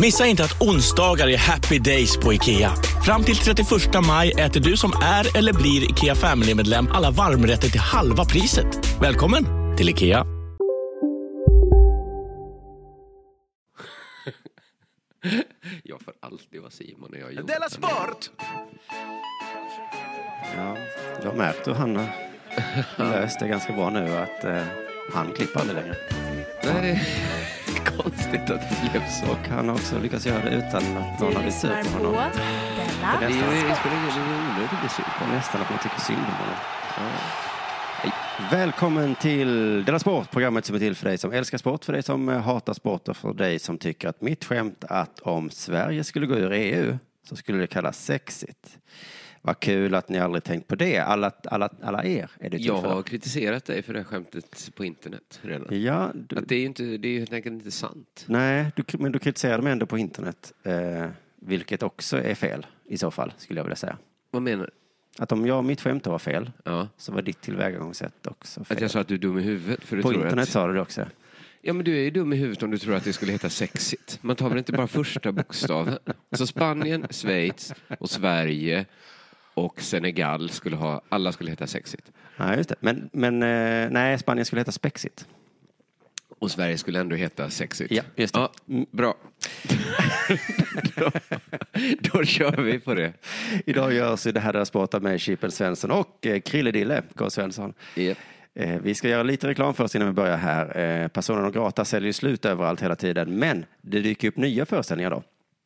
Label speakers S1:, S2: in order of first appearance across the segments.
S1: Missa inte att onsdagar är happy days på IKEA. Fram till 31 maj äter du som är eller blir IKEA Family-medlem alla varmrätter till halva priset. Välkommen till IKEA.
S2: Jag får alltid vara Simon när jag jobbar.
S1: Della Sport!
S3: Ja, jag märkte han har löst det ganska bra nu att eh, han klipper aldrig längre.
S2: Nej, det är konstigt att det blev så.
S3: Och han har också lyckats göra det utan att någon har blivit sur på honom.
S2: Det
S4: Della
S2: är ju- det spelar ingen roll, det är onödigt att bli sur på
S3: Och
S2: mig.
S3: nästan att man tycker synd om honom. Hej. Välkommen till Della Sport, programmet som är till för dig som älskar sport, för dig som eh, hatar sport och för dig som tycker att mitt skämt att om Sverige skulle gå ur EU så skulle det kallas sexigt. Vad kul att ni aldrig tänkt på det. Alla, alla, alla er är det till
S2: Jag har
S3: för.
S2: kritiserat dig för det här skämtet på internet redan.
S3: Ja, du,
S2: Att det är ju inte, det är ju helt enkelt inte sant.
S3: Nej, du, men du kritiserar mig ändå på internet. Eh, vilket också är fel i så fall, skulle jag vilja säga.
S2: Vad menar du?
S3: Att om jag och mitt skämt var fel,
S2: Ja.
S3: så var ditt tillvägagångssätt också fel.
S2: Att jag sa att du är dum i huvudet. För du
S3: på
S2: tror
S3: internet
S2: att,
S3: sa du det också.
S2: Ja men du är ju dum i huvudet om du tror att det skulle heta sexigt. Man tar väl inte bara första bokstaven. Så Spanien, Schweiz och Sverige och Senegal skulle ha, alla skulle heta sexigt.
S3: Nej, just det. Men, men eh, nej, Spanien skulle heta Spexit.
S2: Och Sverige skulle ändå heta sexigt.
S3: Ja, just det.
S2: Ja, mm, bra. då, då kör vi på det.
S3: Idag görs ju det här Della Sport av mig, Chippen Svensson och eh, Krille Dille, K. Svensson.
S2: Japp.
S3: Eh, Vi ska göra lite reklam för oss innan vi börjar här. Eh, Personen och Grata säljer ju slut överallt hela tiden, men det dyker upp nya föreställningar då.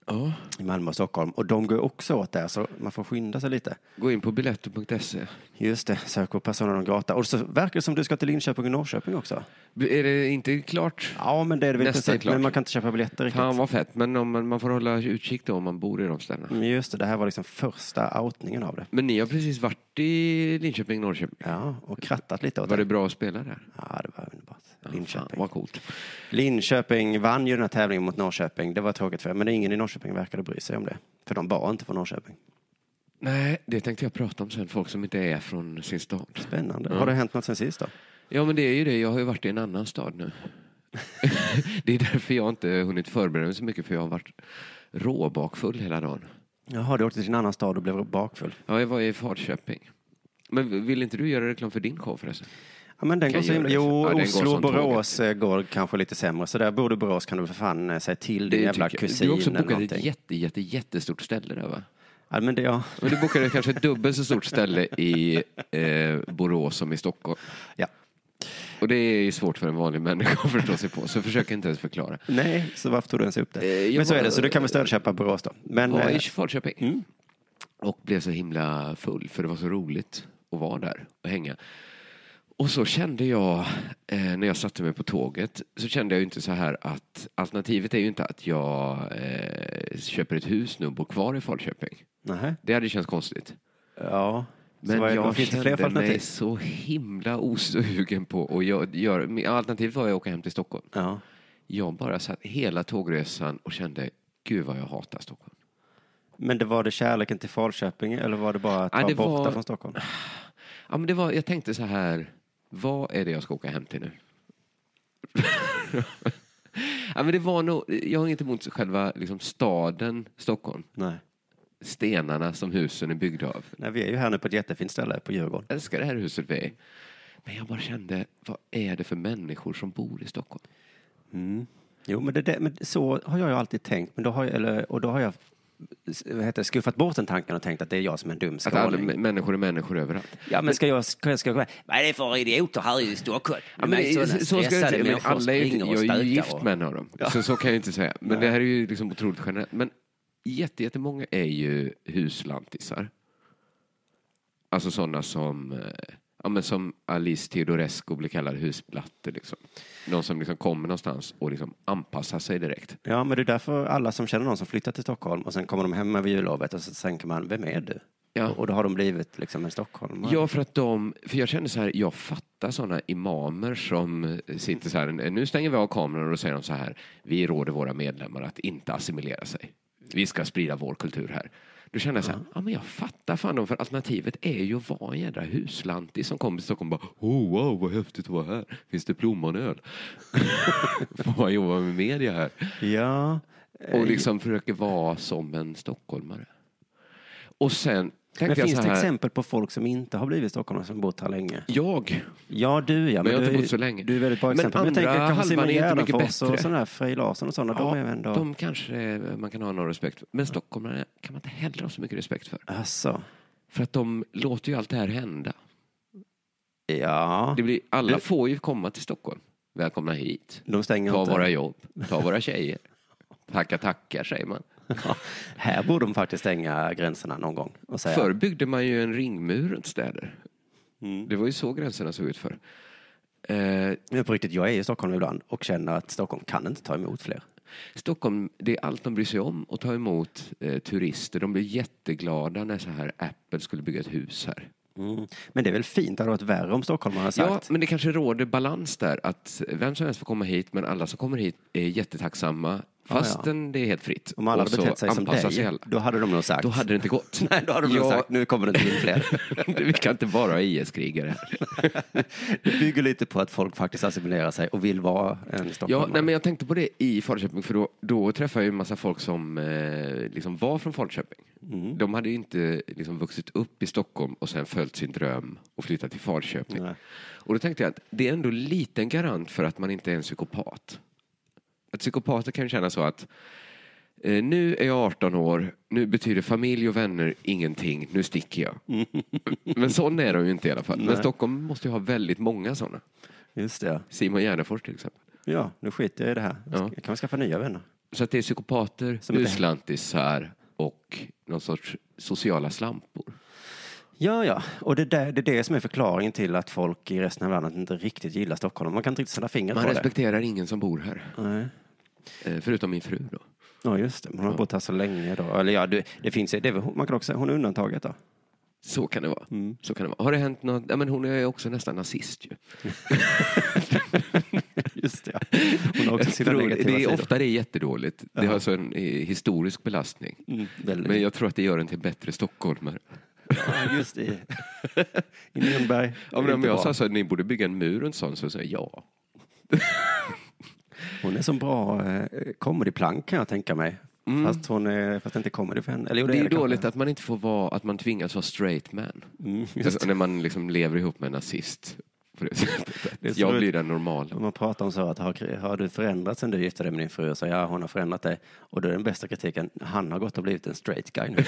S2: Ja.
S3: I Malmö och Stockholm, och de går också åt där, så man får skynda sig lite.
S2: Gå in på biletto.se.
S3: Just det, sök på Personen och Grata. Och så verkar det som du ska till Linköping och Norrköping också.
S2: Är det inte klart?
S3: Ja, men det är det väl
S2: Nästa är
S3: precis,
S2: klart.
S3: men man kan inte köpa biljetter riktigt.
S2: Fan vad fett, men om man, man får hålla utkik då om man bor i de ställena.
S3: Men Just det, det här var liksom första outningen av det.
S2: Men ni har precis varit i Linköping, Norrköping.
S3: Ja, och krattat lite åt
S2: Var det bra att spela där?
S3: Ja, det var underbart.
S2: Fan,
S3: Linköping.
S2: vad coolt.
S3: Linköping vann ju den här tävlingen mot Norrköping. Det var tråkigt för er, men ingen i Norrköping verkade bry sig om det. För de var inte från Norrköping.
S2: Nej, det tänkte jag prata om sen. Folk som inte är från sin stad.
S3: Spännande. Har det hänt något sen sist då?
S2: Ja, men det är ju det. Jag har ju varit i en annan stad nu. det är därför jag inte hunnit förbereda mig så mycket, för jag har varit råbakfull hela dagen.
S3: Jaha, du åkte till en annan stad och blev bakfull.
S2: Ja, jag var i Falköping. Men vill inte du göra reklam för din show förresten?
S3: Ja, men den
S2: Kan
S3: går så himla...
S2: göra det. Ja,
S3: Jo,
S2: den går
S3: Oslo
S2: som
S3: och Borås eh, går kanske lite sämre. Så där bor du i Borås kan du för fan eh, säga till din jävla
S2: tycker jag.
S3: kusin
S2: Du har också
S3: eller
S2: bokat ett
S3: någonting.
S2: jätte, jätte, jättestort ställe där va?
S3: Ja, men det, ja.
S2: Men du bokade kanske ett dubbelt så stort ställe i eh, Borås som i Stockholm.
S3: ja.
S2: Och det är ju svårt för en vanlig människa att förstå sig på, så försök inte ens förklara.
S3: Nej, så varför tog du ens upp det?
S2: Eh, jag
S3: men så
S2: var-
S3: är det, så du kan väl stödköpa Borås då. Men,
S2: Jag var
S3: eh,
S2: i Falköping. Och blev så himla full, för det var så roligt att vara där och hänga. Och så kände jag, eh, när jag satte mig på tåget, så kände jag ju inte så här att alternativet är ju inte att jag eh, köper ett hus nu och bor kvar i Falköping.
S3: nähä.
S2: Det hade ju känts konstigt.
S3: Ja.
S2: Men
S3: så vad,
S2: jag
S3: vad finns det fler för
S2: kände mig
S3: alternativ?
S2: så himla osugen på att göra... göra min- alternativet var att åka hem till Stockholm.
S3: Ja.
S2: Jag bara satt hela tågresan och kände, gud vad jag hatar Stockholm.
S3: Men det var det kärleken till Falköping eller var det bara att
S2: Ja, det
S3: vara borta
S2: var-
S3: från Stockholm?
S2: Ja, men det var, jag tänkte så här, vad är det jag ska åka hem till nu? ja, men det var nog, jag har inget emot själva liksom, staden Stockholm.
S3: Nej.
S2: Stenarna som husen är byggda av.
S3: Nej, vi är ju här nu på ett jättefint ställe på Djurgården.
S2: Jag älskar det här huset vi är i. Men jag bara kände, vad är det för människor som bor i Stockholm? Mm.
S3: Jo, men, det, där- men så har jag ju alltid tänkt. Men då har jag, eller, och då har jag s- vad heter det, skuffat bort den tanken och tänkt att det är jag som är en dum
S2: Att alla
S3: skåning.
S2: m- människor är människor överallt.
S3: Ja, men ska jag... Ska jag, ska jag
S5: Vad är det för idioter här i Stockholm?
S2: Ja,
S5: De är
S2: men, så,
S5: sådana
S2: så ska jag
S5: stressade
S2: inte, men
S5: människor
S2: alla är, ju
S5: springer
S2: inte-
S5: och
S2: jag är ju
S5: stökar
S2: gift
S5: och-
S2: med en av dem. Så, så kan jag ju inte säga. Men det här är ju liksom otroligt generellt. Men jätte, jättemånga är ju huslantisar. Alltså sådana som, eh, ja, men som Alice Teodorescu blir kallad husplatte. Liksom. De som liksom kommer någonstans och liksom anpassar sig direkt.
S3: Ja, men det är därför alla som känner någon som flyttar till Stockholm och sen kommer de hem över jullovet och så tänker man, vem är du?
S2: Ja.
S3: Och då har de blivit liksom en stockholmare.
S2: Ja, för att de, för jag känner så här, jag fattar sådana imamer som sitter så här, nu stänger vi av kameran och då säger de så här, vi råder våra medlemmar att inte assimilera sig. Vi ska sprida vår kultur här. Då känner jag så här, ja men jag fattar fan dem, för alternativet är ju att vara en jädra huslantis som kommer till Stockholm och bara, oh wow vad häftigt att vara här, finns det plommonöl? Får man jobba med media här?
S3: Ja.
S2: Och liksom försöker vara som en stockholmare. Och sen
S3: Men
S2: tänkte jag
S3: finns
S2: så
S3: det
S2: här,
S3: exempel på folk som inte har blivit stockholmare som bott här länge?
S2: jag
S3: Ja, du ja.
S2: Men jag
S3: du
S2: har inte
S3: är ju-
S2: bott så länge.
S3: Du är väldigt bra
S2: Men
S3: exempel. Men,
S2: andra
S3: jag tänker kanske
S2: halvan
S3: Simon
S2: är inte mycket
S3: Gärdenfors och
S2: bättre.
S3: sådana här, Frej Larsson och sådana. de är väl ändå...
S2: de kanske man kan ha någon respekt för. Men stockholmare kan man inte heller ha så mycket respekt för.
S3: Alltså,
S2: För att de låter ju allt det här hända.
S3: ja.
S2: Det blir, alla
S3: Du-
S2: får ju komma till Stockholm. Välkomna hit.
S3: De stänger
S2: Ta
S3: inte.
S2: våra jobb. Ta våra tjejer. Tacka tackar säger man.
S3: Ja, här borde de faktiskt stänga gränserna någon gång och säga
S2: Förr byggde man ju en ringmur runt städer.
S3: Mm.
S2: Det var ju så gränserna såg ut förr. Eh,
S3: Men på riktigt, jag är i Stockholm ibland och känner att Stockholm kan inte ta emot fler.
S2: Stockholm, det är allt de bryr sig om och ta emot eh, turister. De blev jätteglada när så här Apple skulle bygga ett hus här.
S3: Mm. Men det är väl fint, det hade varit värre om Stockholm hade
S2: Ja,
S3: sagt.
S2: men det kanske råder balans där. Att vem som helst får komma hit, men alla som kommer hit är jättetacksamma. Fastän det är helt fritt.
S3: om alla
S2: Och
S3: hade
S2: så
S3: betett sig som
S2: anpassar
S3: dig,
S2: sig alla.
S3: då hade de nog sagt.
S2: Då hade det inte gått.
S3: Nej, då hade de nog sagt, nu kommer det inte in fler.
S2: Vi kan inte bara ha IS-krigare här.
S3: det bygger lite på att folk faktiskt assimilerar sig och vill vara en
S2: Ja,
S3: stockholmare.
S2: nej, men jag tänkte på det i Falköping, för då, då träffade jag ju en massa folk som eh, liksom var från Falköping. De hade ju inte liksom, vuxit upp i Stockholm och sen följt sin dröm och flyttat till Falköping.
S3: Nej.
S2: Och då tänkte jag att det är ändå en liten garant för att man inte är en psykopat. Att psykopater kan ju känna så att eh, nu är jag 18 år, nu betyder familj och vänner ingenting, nu sticker jag. Men sån är de ju inte i alla fall. Men Stockholm måste ju ha väldigt många sådana.
S3: Just det.
S2: Simon Gärdenfors till exempel.
S3: Ja, nu skiter jag i det här.
S2: Ja.
S3: Jag kan skaffa nya vänner.
S2: Så att det är psykopater,
S3: Som inte-
S2: uslantisar och någon sorts sociala slampor.
S3: Ja, ja. Och det, där, det är det som är förklaringen till att folk i resten av landet inte riktigt gillar Stockholm. Man kan inte riktigt sätta fingret
S2: Man
S3: på
S2: respekterar ingen som bor här.
S3: det. Nej.
S2: Eh, Förutom min fru då.
S3: Ja, just det. Man har bott här så länge då. Eller ja, det, det finns det, är väl- Man kan också hon är undantaget då.
S2: Så kan det vara. Så kan det vara. Har det hänt något? Ja, men hon är ju också nästan nazist ju.
S3: Just det, ja. Hon har också
S2: Jag
S3: sina
S2: tror-
S3: negativa
S2: det är
S3: sidor.
S2: ofta det är jättedåligt. Det har alltså en eh, historisk belastning.
S3: Mm, väldigt.
S2: Men jag tror att det gör en till bättre stockholmare.
S3: Ja, just det. I Nürnberg.
S2: Ja, men om
S3: Inte
S2: jag
S3: bra.
S2: sa så här, ni borde bygga en mur runt sån, så säger jag ja.
S3: Hon är som bra eh, comedyplank kan jag tänka mig. Fast, hon är, fast det inte är comedy för henne. Eller, jo,
S2: Mm. Det är
S3: kanske.
S2: dåligt att man inte får vara, att man tvingas vara straight man.
S3: Mm,
S2: alltså, när man liksom lever ihop med en nazist. På det sättet.
S3: Det är så
S2: jag
S3: roligt.
S2: blir den normala.
S3: Om man pratar om så att har, har du förändrats sen du gifte dig med din fru? Och så ja, hon har förändrat dig. Och då är den bästa kritiken, han har gått och blivit en straight guy nu.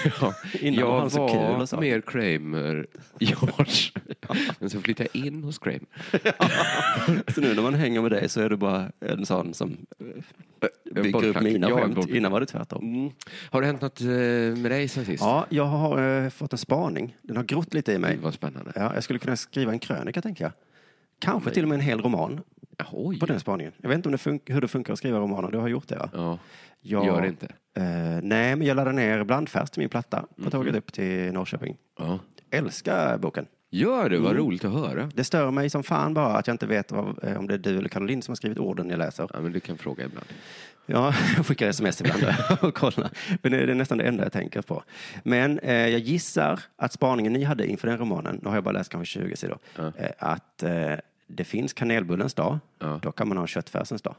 S3: Innan
S2: jag
S3: var
S2: var
S3: han så kul och så.
S2: mer Kramer, George. Men så flyttade jag in hos Kramer.
S3: Så nu när man hänger med dig så är du bara en sån som eh,
S2: en
S3: bygger upp
S2: bollplank.
S3: mina
S2: Jag är en
S3: skämt.
S2: bollplank.
S3: Innan var det tvärtom.
S2: Har det hänt något eh, med dig sen sist?
S3: Mm. Ja, jag har eh, fått en spaning. Den har grott lite i mig.
S2: Det var spännande.
S3: Ja, jag skulle kunna skriva en krönika, tänker jag. Kanske till och med en hel roman
S2: Oj.
S3: på den spaningen. Jag vet inte om det fun- hur det funkar att skriva romaner. Du har gjort det, va?
S2: Ja.
S3: Jag,
S2: Gör det inte.
S3: Eh, nej, men jag laddade ner Blandfärs till min platta
S2: Mhm.
S3: på tåget upp till Norrköping.
S2: ja.
S3: Älskar boken.
S2: Gör det, vad
S3: Mm.
S2: roligt att höra.
S3: Det stör mig som fan bara att jag inte vet vad, eh, om det är du eller Caroline som har skrivit orden jag läser.
S2: Ja, men du kan fråga ibland.
S3: Ja, jag skickar sms ibland och kollar. Men det är nästan det enda jag tänker på. Men eh, jag gissar att spaningen ni hade inför den romanen, nu har jag bara läst kanske 20 sidor, eh, att eh, det finns kanelbullens dag,
S2: Ja.
S3: då kan man ha köttfärsens dag.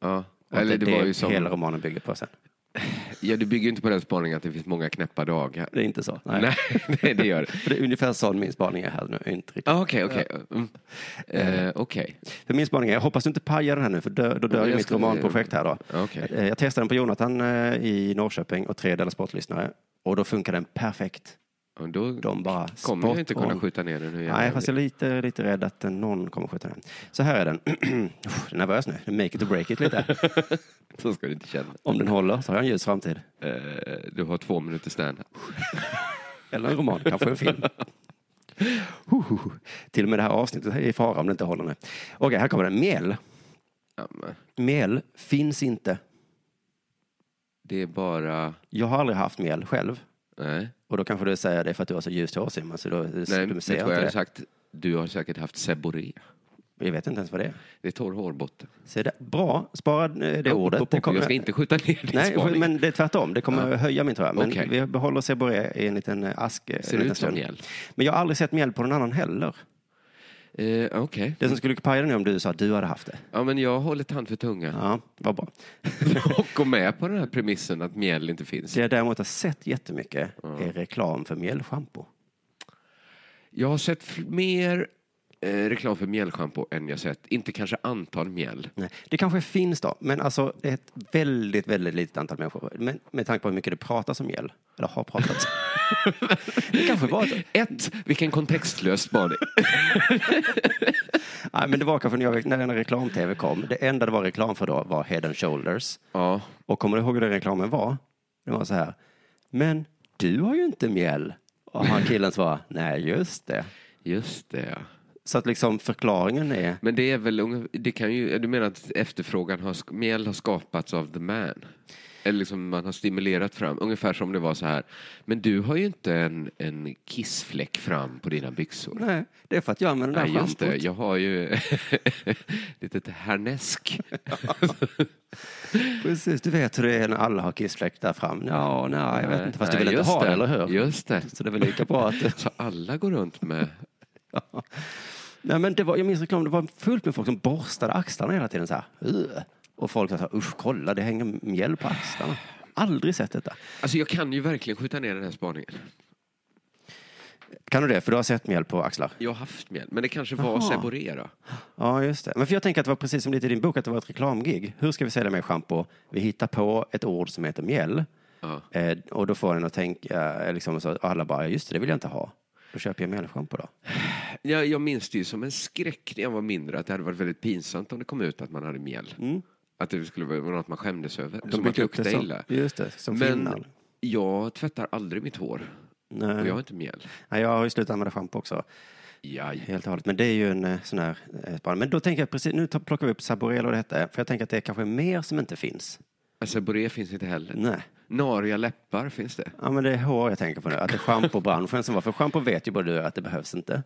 S2: Ja.
S3: Och
S2: Eller det,
S3: det
S2: var ju
S3: är
S2: som...
S3: hela romanen bygger på sen.
S2: Ja, du bygger ju inte på den spaningen att det finns många knäppa dagar.
S3: Det är inte så.
S2: Nej, nej, det gör det.
S3: För det är ungefär sån min spaning är här nu. Inte riktigt.
S2: Ah, Okej, okej. Mm. Eh, Okej.
S3: För min spaning är, jag hoppas du inte pajar den här nu, för dö, då dör
S2: jag
S3: ju mitt
S2: ska-
S3: romanprojekt här då.
S2: Okej.
S3: Eh, Jag testade den på Jonathan eh, i Norrköping och tre Della Sport-lyssnare. Och då funkar den perfekt.
S2: Ja, men då
S3: De bara
S2: kommer jag
S3: spot
S2: inte kunna
S3: on.
S2: skjuta ner den hur gärna
S3: Nej,
S2: jag
S3: fast jag är
S2: vill.
S3: lite, lite rädd att eh, någon kommer skjuta den. Så här är den. Oh, jag är nervös nu. Make it or break it lite.
S2: Så ska du inte känna.
S3: Om den håller så har jag en ljus framtid.
S2: Eh, du har två minuter stand.
S3: Eller en roman, kanske en film. Huhuhu. Till och med det här avsnittet är i fara om det inte håller nu. Okej, här kommer den. Mjäll.
S2: Ja, men
S3: Mjäll finns inte.
S2: det är bara...
S3: Jag har aldrig haft mjäll själv.
S2: Nej,
S3: Och då kanske du säger det för att du har så ljust hår Simon, så då du
S2: Nej
S3: ser
S2: vet
S3: inte
S2: du vad jag hade
S3: det.
S2: sagt? Du har säkert haft seborré.
S3: Jag vet inte ens vad det är.
S2: Det är torr hårbotten.
S3: Så det, bra, spara eh, det ordet. det
S2: Jag ska inte skjuta ner din
S3: Nej,
S2: spaning.
S3: men det är tvärtom. Det kommer höja min tror jag. Men
S2: Okej.
S3: vi behåller Seboré i en liten eh, ask. eh, en
S2: Ser det
S3: liten
S2: ut som
S3: stund.
S2: mjäll?
S3: Men jag har aldrig sett mjäll på någon annan heller.
S2: Eh, Okej.
S3: Det som skulle paja den är om du sa att du hade haft det.
S2: Ja, men jag håller tand för tunga.
S3: Ja, vad bra.
S2: Och går med på den här premissen att mjäll inte finns.
S3: Det jag däremot har sett jättemycket är reklam för mjällschampo.
S2: Jag har sett fl- mer eh, reklam för mjällschampo än jag sett, inte kanske antal mjäll.
S3: Nej, det kanske finns då, men alltså det är ett väldigt, väldigt litet antal människor. Men med tanke på hur mycket det pratas om mjäll, eller har pratats. det kanske var ett
S2: Ett, vilken kontextlös spaning.
S3: Nej, men det var kanske när, jag, när den här reklam-tv kom. Det enda det var reklam för då var Head and Shoulders.
S2: Ja.
S3: Och kommer du ihåg hur den reklamen var? Det var så här. Men du har ju inte mjäll. Och han killen svarade. Nej, just det.
S2: Just det, ja.
S3: Så att liksom förklaringen är.
S2: Men det är väl unge- det kan ju, du menar att efterfrågan har, sk- mjäll har skapats av the man? Eller liksom man har stimulerat fram, ungefär som det var så här. Men du har ju inte en, en kissfläck fram på dina byxor.
S3: Nej, det är för att jag använder den
S2: Nej,
S3: här
S2: just det.
S3: schampot.
S2: Jag har ju litet härnäsk.
S3: Precis, du vet hur det är när alla har kissfläck där fram. Ja, nej, jag vet inte. Fast du vill inte
S2: just
S3: ha det, eller hur?
S2: Just det.
S3: Så det är väl lika bra att...
S2: Så alla går runt med...
S3: Nej, men det var, jag minns reklam, det var fullt med folk som borstade axlarna hela tiden så här. "Ugh." Och folk sa så här, usch kolla det hänger mjäll på axlarna. Aldrig sett detta.
S2: Alltså jag kan ju verkligen skjuta ner den här spaningen.
S3: Kan du det? För du har sett mjäll på axlar?
S2: Jag har haft mjäll, men det kanske var
S3: Jaha.
S2: seboré då.
S3: Ja, just det. Men för jag tänker att det var precis som lite i din bok, att det var ett reklamgig. Hur ska vi sälja mer schampo? Vi hittar på ett ord som heter mjäll.
S2: Ja.
S3: Eh, och då får en att tänka, eh, liksom, så, att alla bara, "Ja, just det, det vill jag inte ha. Då köper jag mjällschampo då.
S2: Jag, jag minns det ju som en skräck när jag var mindre att det hade varit väldigt pinsamt om det kom ut att man hade mjäll. Att det skulle vara något man skämdes över. som att
S3: byggde Mm. upp
S2: lukta
S3: det som-
S2: illa.
S3: just det, som
S2: men
S3: finnar.
S2: jag tvättar aldrig mitt hår.
S3: Nej.
S2: Och jag har inte mjäll.
S3: Nej, jag har ju slutat använda schampo också.
S2: Jaj.
S3: Helt och hållet. Men det är ju en eh, sån här eh, spaning. Men då tänker jag precis, nu tar- plockar vi upp Saborello och detta. För jag tänker att det är kanske mer som inte finns.
S2: Seboré Alltså, finns inte heller.
S3: Nej.
S2: Nariga läppar finns det.
S3: Ja men det är hår jag tänker på nu. Att det är schampobranschen som var. För schampo vet ju både du att det behövs inte.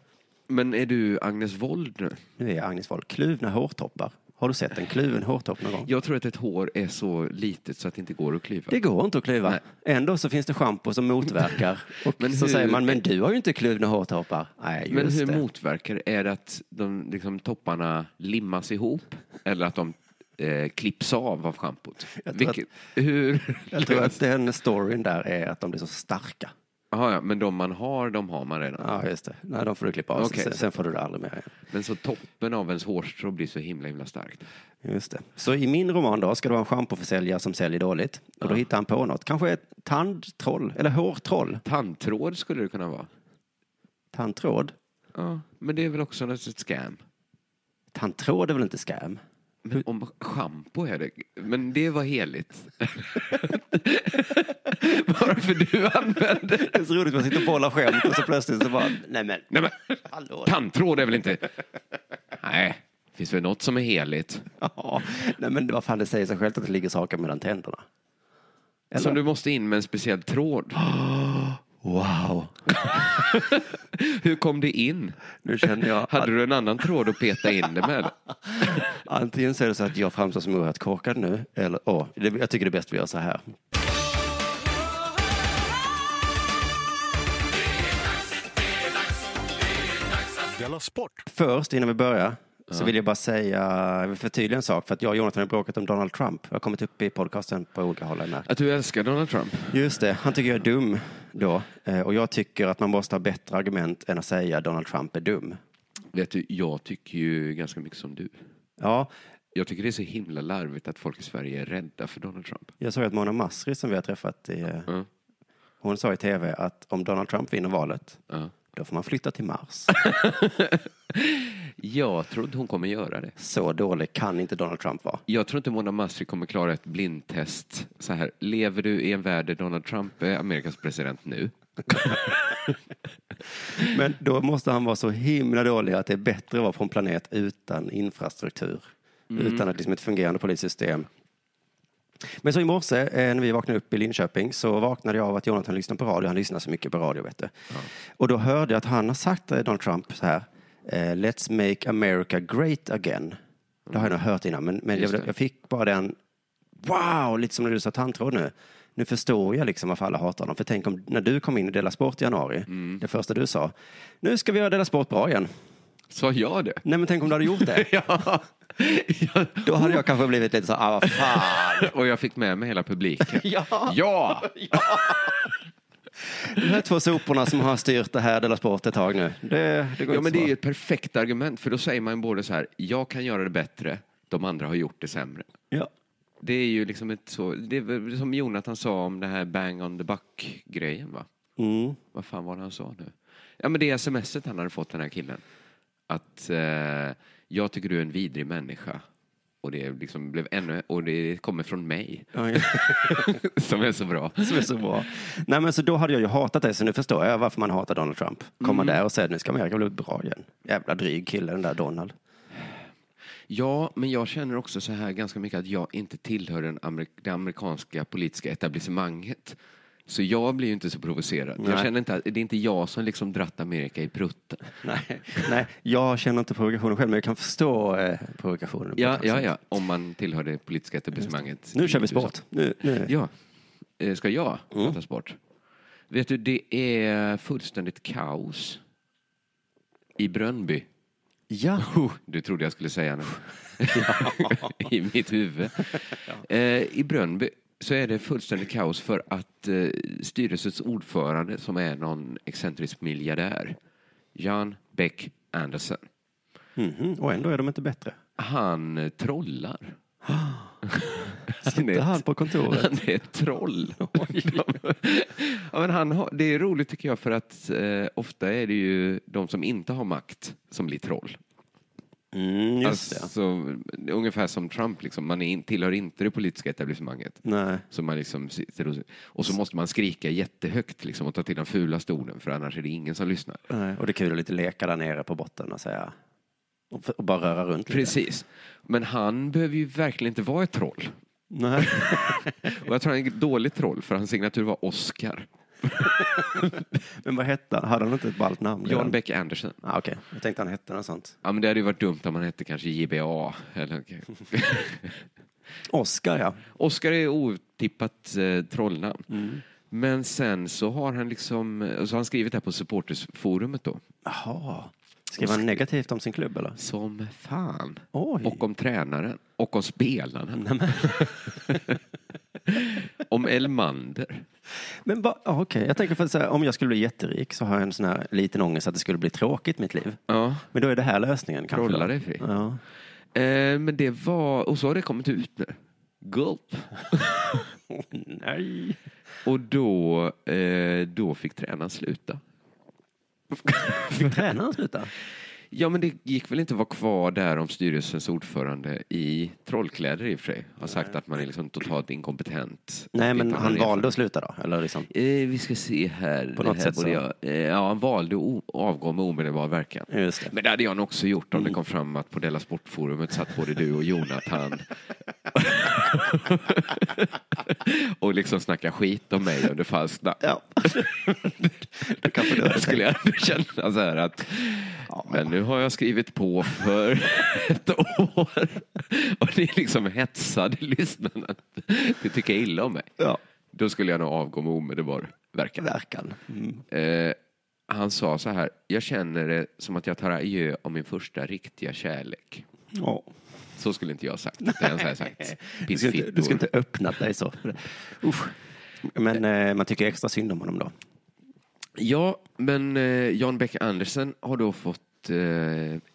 S2: Men är du Agnes Wold nu?
S3: Nu är Agnes Wold kluvna hårtoppar. Har du sett en kluven hårtopp någon gång?
S2: Jag tror att ett hår är så litet så att det inte går att klyva.
S3: Det går inte att klyva.
S2: Nej.
S3: Ändå så finns det schampo som motverkar. Och
S2: Men
S3: så
S2: hur-
S3: säger man, men du har ju inte kluvna hårtoppar. Nej,
S2: Men
S3: just
S2: hur
S3: det.
S2: motverkar det? Är det att de, liksom, topparna limmas ihop eller att de eh, klipps av av schampot?
S3: Jag tror att-
S2: Vilket- Hur?
S3: Jag tror att den storyn där är att de blir så starka.
S2: Jaha, ja, men de man har, de har man redan.
S3: Ja, just det. Nej, de får du klippa av.
S2: Okej.
S3: Sen, sen får du det aldrig mer igen.
S2: Men så toppen av ens hårstrå blir så himla himla starkt.
S3: Just det. Så i min roman då ska det vara en schampoförsäljare som säljer dåligt. Och då hittar han på något. Kanske ett tandtroll eller hårtroll.
S2: Tandtråd skulle det kunna vara.
S3: Tandtråd.
S2: Ja, men det är väl också något ett scam.
S3: Tandtråd är väl inte scam?
S2: Men om schampo är det, men det var heligt. Bara för du använde...
S3: Det är så roligt, man sitter och bollar skämt och så plötsligt så bara, nej men,
S2: Nej, men,
S3: hallå.
S2: tandtråd är väl inte... Nej, finns väl något som är heligt?
S3: Ja, nej men vad fan, det säger sig självt att det ligger saker mellan tänderna. Eller?
S2: Som du måste in med en speciell tråd.
S3: Wow.
S2: Hur kom det in?
S3: Nu känner jag att
S2: Hade du en annan tråd att peta in det med?
S3: antingen så är det så att jag framstår som oerhört korkad nu, eller åh, det, jag tycker det är bäst vi gör så här.
S1: Della Sport.
S3: Först, innan vi börjar, så vill jag bara säga, jag vill förtydliga en sak, för att jag och Jonathan har bråkat om Donald Trump. Jag har kommit upp i podcasten på olika håll. Här.
S2: Att du älskar Donald Trump?
S3: Just det, han tycker jag är dum då. Eh, Och jag tycker att man måste ha bättre argument än att säga Donald Trump är dum.
S2: Vet du, jag tycker ju ganska mycket som du.
S3: Ja,
S2: Jag tycker det är så himla larvigt att folk i Sverige är rädda för Donald Trump.
S3: jag såg att Mona Masri som vi har träffat i, eh, Hon sa i tv att om Donald Trump vinner valet,
S2: Ja.
S3: då får man flytta till Mars.
S2: Jag tror inte hon kommer göra det.
S3: Så dålig kan inte Donald Trump vara.
S2: Jag tror inte Mona Masri kommer klara ett blindtest. Så här, lever du i en värld där Donald Trump är Amerikas president nu?
S3: Men då måste han vara så himla dålig att det är bättre att vara på en planet utan infrastruktur.
S2: Mm.
S3: Utan att liksom ett fungerande polissystem. Men så i morse eh, när vi vaknade upp i Linköping så vaknade jag av att Jonathan lyssnar på radio. Han lyssnar så mycket på radio vet du. Och då hörde jag att han har sagt till Donald Trump så här. eh, Let's make America great again. Det har jag nog hört innan men, men
S2: Just
S3: jag,
S2: det.
S3: jag fick bara den Wow, lite som när du sa tandtråd nu. Nu förstår jag liksom varför alla hatar dem. För tänk om när du kom in i Dela Sport i januari,
S2: Mm.
S3: det första du sa, nu ska vi göra Dela Sport bra igen.
S2: Sa jag det?
S3: Nej men tänk om du hade gjort det.
S2: Ja. Ja.
S3: Då hade jag kanske blivit lite så ah vad fan.
S2: Och jag fick med mig hela publiken.
S3: Ja.
S2: Ja!
S3: De här två soporna som har styrt det här Dela Sport ett tag nu. Det, det går
S2: Ja,
S3: inte
S2: men
S3: så
S2: det är ju
S3: bra.
S2: ett perfekt argument, för då säger man både så här, jag kan göra det bättre, de andra har gjort det sämre.
S3: Ja.
S2: Det är ju liksom ett så, det är väl som Jonathan sa om det här bang on the buck-grejen va?
S3: Mm.
S2: Vad fan var det han sa nu? Ja men det smset han hade fått den här killen. Att eh, jag tycker du är en vidrig människa. Och det liksom blev ännu, och det kommer från mig.
S3: Ja, ja.
S2: Som är så bra.
S3: Som är så bra. Nej men så då hade jag ju hatat dig så nu förstår jag varför man hatar Donald Trump.
S2: Mm.
S3: Komma där och säga nu ska Amerika bli bra igen. Jävla dryg kille den där Donald.
S2: Ja, men jag känner också så här ganska mycket att jag inte tillhör den amer- det amerikanska politiska etablissemanget. Så jag blir ju inte så provocerad. Jag
S3: Nej.
S2: känner inte att, det är inte jag som liksom dratt Amerika i prutten.
S3: Nej, nej, jag känner inte provokationen själv, men jag kan förstå eh, provokationen. på
S2: Ja,
S3: ett
S2: ja,
S3: sätt.
S2: ja, om man tillhör det politiska etablissemanget.
S3: Nu kör
S2: i
S3: vi
S2: USA.
S3: sport. Nu, nu. Mm.
S2: Ja. Eh, Ska jag prata sport? Vet du, det är fullständigt kaos i Brönnby.
S3: Ja.
S2: Oh, du trodde jag skulle säga nu. I mitt huvud. Eh, I Brönnby så är det fullständigt kaos för att eh, styrelsens ordförande som är någon excentrisk miljardär, Jan Beck Andersen,
S3: Mhm, Och ändå är de inte bättre.
S2: han eh, trollar. Han är
S3: Inte
S2: ett-
S3: han på kontoret.
S2: Han är ett troll. ja, men han har, det är roligt tycker jag för att eh, ofta är det ju de som inte har makt som blir troll.
S3: Mm, just det.
S2: Alltså, ungefär som Trump, liksom. man är in, tillhör inte det politiska etablissemanget.
S3: Nej.
S2: Så man liksom sitter och, och så måste man skrika jättehögt liksom, och ta till den fulaste orden för annars är det ingen som lyssnar.
S3: nej. Och det är kul att lite leka där nere på botten och säga och, f- och bara röra runt lite.
S2: Precis. Men han behöver ju verkligen inte vara ett troll.
S3: Nej.
S2: Och jag tror han är ett dåligt troll för hans signatur var Oscar.
S3: Men vad hette han? Hade han inte ett ballt namn?
S2: Jan Beck Andersen.
S3: Ah, Okej, jag tänkte han hette något sånt.
S2: Ja, men det hade ju varit dumt om man hette kanske JBA. Eller...
S3: Oscar ja.
S2: Oscar är otippat eh, trollnamn.
S3: Mm.
S2: Men sen så har han liksom, och så har han skrivit det här på supportersforumet då.
S3: Jaha. Skrev han negativt om sin klubb eller?
S2: Som fan.
S3: Oj.
S2: Och om tränaren. Och om spelaren. om Elmander.
S3: Men ba, ah, okej, jag tänker för att säga, om jag skulle bli jätterik så har jag en sån här liten ångest att det skulle bli tråkigt i mitt liv.
S2: Ja.
S3: Men då är det här lösningen kanske?
S2: Trolla dig fri.
S3: Ja.
S2: Eh, men det var, och så har det kommit ut nu. Gulp.
S3: Nej.
S2: Och då, eh, då fick tränaren sluta.
S3: Fick tränaren sluta?
S2: Ja, men det gick väl inte att vara kvar där om styrelsens ordförande i trollkläder i och för sig har sagt att man är liksom totalt inkompetent.
S3: Nej,
S2: Och
S3: men
S2: inte har
S3: han
S2: någon
S3: valde att sluta då? Eller liksom.
S2: erfarenhet. Eh, vi ska se här.
S3: På
S2: Det
S3: något
S2: här
S3: sätt
S2: borde
S3: så.
S2: jag- eh, Ja, han valde att o- avgå med omedelbar verkan.
S3: Just det.
S2: Men det hade jag nog också gjort om det kom fram att på Della Sportforumet satt både du och Jonathan och liksom snackade skit om mig under falskt namn.
S3: Ja. du kanske dör.
S2: Då skulle jag ändå känna så här att men nu har jag skrivit på för ett år och ni liksom hetsade lyssnarna att de tycker illa om mig.
S3: Ja.
S2: Då skulle jag nog avgå med omedelbar verkan.
S3: Verkan. Mm.
S2: Eh, han sa så här, jag känner det som att jag tar adjö av min första riktiga kärlek.
S3: Ja.
S2: Så skulle inte jag ha sagt. Det hade jag så här sagt.
S3: Du skulle inte, du skulle
S2: Pissfittor.
S3: inte öppnat dig så. Usch. Men eh, man tycker extra synd om honom då.
S2: Ja, men eh, Jan Beck Andersen har då fått eh,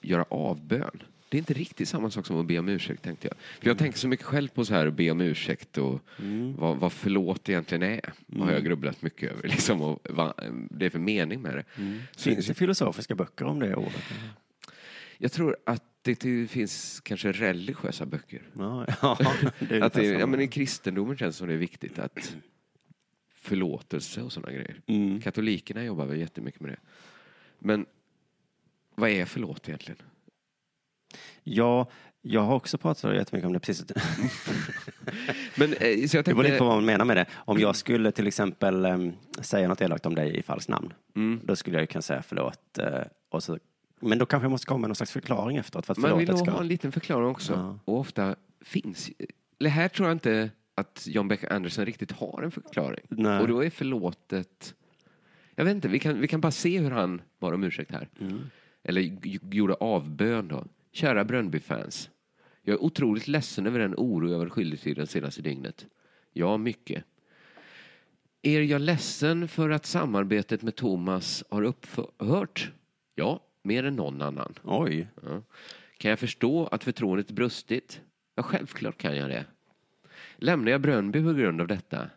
S2: göra avbön Det är inte riktigt samma sak som att be om ursäkt tänkte jag. För
S3: Mm.
S2: jag tänker så mycket själv på så här att be om ursäkt och vad, vad förlåt egentligen är.
S3: Mm.
S2: Har jag grubblat mycket över liksom och vad det är för mening med det. Så
S3: Mm. Finns det filosofiska böcker om det ordet?
S2: jag tror att det till- finns kanske religiösa böcker.
S3: Ja, ja, det är
S2: att det,
S3: ungefär
S2: ja,
S3: samma.
S2: men I kristendomen känns det som det är viktigt att förlåtelse och sådana grejer.
S3: Mm.
S2: Katolikerna jobbar väl jättemycket med det. Men vad är förlåt egentligen?
S3: ja, jag har också pratat jättemycket om det precis.
S2: Men, eh, så
S3: Det beror
S2: jag
S3: lite på
S2: tänkte,
S3: vad man menar med det. Om jag skulle till exempel em, säga något elakt om dig i falskt namn,
S2: Mm.
S3: då skulle jag ju kunna säga förlåt. eh, och så, men då kanske jag måste komma med någon slags förklaring efteråt för att
S2: man vill
S3: förlåtet
S2: nog
S3: ska...
S2: ha en liten förklaring också. Och ofta finns... Det här tror jag inte att John Beck Anderson riktigt har en förklaring.
S3: Nej.
S2: Och då är förlåtet... Jag vet inte, vi kan, vi kan bara se hur han bad om ursäkt här. Eller g- gjorde avbön då. Kära Brönnby-fans. Jag är otroligt ledsen över den oro jag varit skyldig till den senaste dygnet. Ja, mycket. Är jag ledsen för att samarbetet med Thomas har upphört? Ja, mer än någon annan.
S3: Oj.
S2: Ja. Kan jag förstå att förtroendet brustit? Ja, självklart kan jag det. Lämnar jag Brönnby på grund av detta?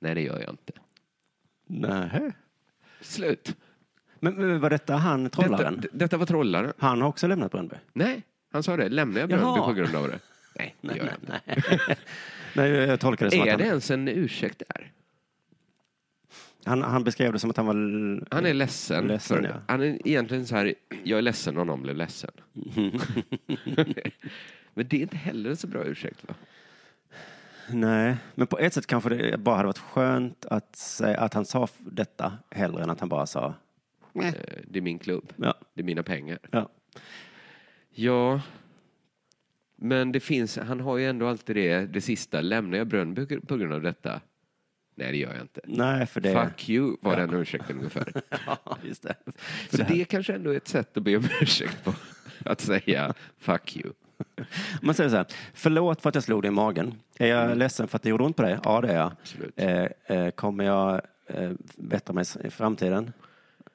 S2: Nej, det gör jag inte.
S3: Nähä.
S2: Slut.
S3: Men, men var detta han,
S2: Detta,
S3: trollaren?
S2: d- detta var trollaren.
S3: Han har också lämnat Brönnby?
S2: Nej, han sa det. Lämnar jag Brönnby
S3: Jaha.
S2: på grund av det? Nej, det gör jag inte.
S3: Nej, jag jag tolkar det som
S2: Är
S3: att
S2: det
S3: han,
S2: ens en ursäkt där?
S3: han, han beskrev det som att han var... l-
S2: Han är ledsen.
S3: Mm. Ledsen,
S2: för,
S3: ja.
S2: Han är egentligen så här, jag är ledsen om någon blev ledsen. Men det är inte heller en så bra ursäkt, va?
S3: Nej, men på ett sätt kanske det bara hade varit skönt att, säga, att han sa f- detta hellre än att han bara sa
S2: Eh, Det är min klubb.
S3: ja.
S2: Det är mina pengar.
S3: ja.
S2: Ja. Men det finns, han har ju ändå alltid det, det sista, lämnar jag Brönnby på grund av detta? Nej, det gör jag inte.
S3: Nej, för det...
S2: Fuck you var den ursäkten ungefär.
S3: Ja, just det.
S2: Så
S3: För
S2: det,
S3: det här,
S2: kanske ändå är ett sätt att be om ursäkt på. Att säga fuck you.
S3: man säger så här, förlåt för att jag slog dig i magen. Är jag ledsen för att det gjorde ont på dig? Ja, det är jag.
S2: Mm. Absolut.
S3: Eh, eh, kommer jag eh, bättra mig i framtiden?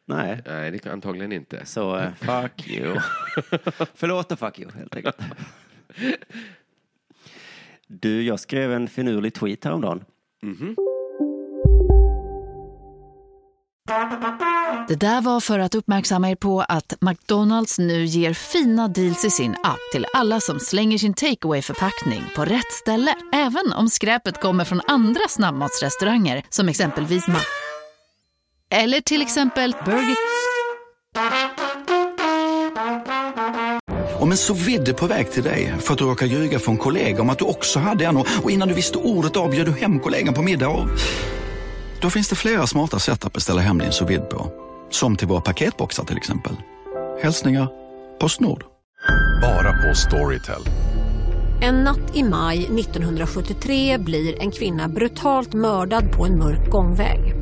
S3: Nej.
S2: Nej, det kan antagligen inte.
S3: Så eh, fuck you. Förlåt och fuck you, helt enkelt. Du, jag skrev en finurlig tweet häromdagen.
S6: Det där var för att uppmärksamma er på att McDonalds nu ger fina deals i sin app till alla som slänger sin takeaway förpackning på rätt ställe. Även om skräpet kommer från andra snabbmatsrestauranger som exempelvis Ma... Eller till exempel Burger...
S7: Om en så vidde på väg till dig för att du råkar ljuga från kollega om att du också hade en och och innan du visste ordet av bjöd du hem kollegan på middag och... Då finns det flera smarta sätt att beställa hem din sous vide på. Som till våra paketboxar till exempel. Hälsningar Postnord.
S8: Bara på Storytel.
S4: En natt i maj 1973 blir en kvinna brutalt mördad på en mörk gångväg.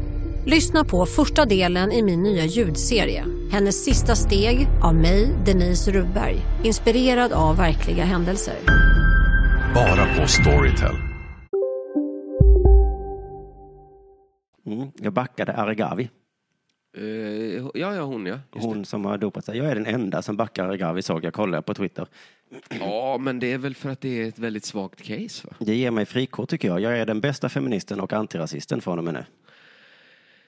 S4: Lyssna på första delen i min nya ljudserie. Hennes sista steg av mig, Denise Rubberg. Inspirerad av verkliga händelser.
S8: Bara på Storytel.
S3: Mm. Jag backade Arigavi.
S2: Eh, ja, ja, hon ja. Just
S3: Hon som har dopat sig. Jag är den enda som backar Arigavi såg jag. Kollade på Twitter.
S2: det. Ja, men det är väl för att det är ett väldigt svagt case, va?
S3: Det ger mig frikort tycker jag. Jag är den bästa feministen och antirasisten från och med nu.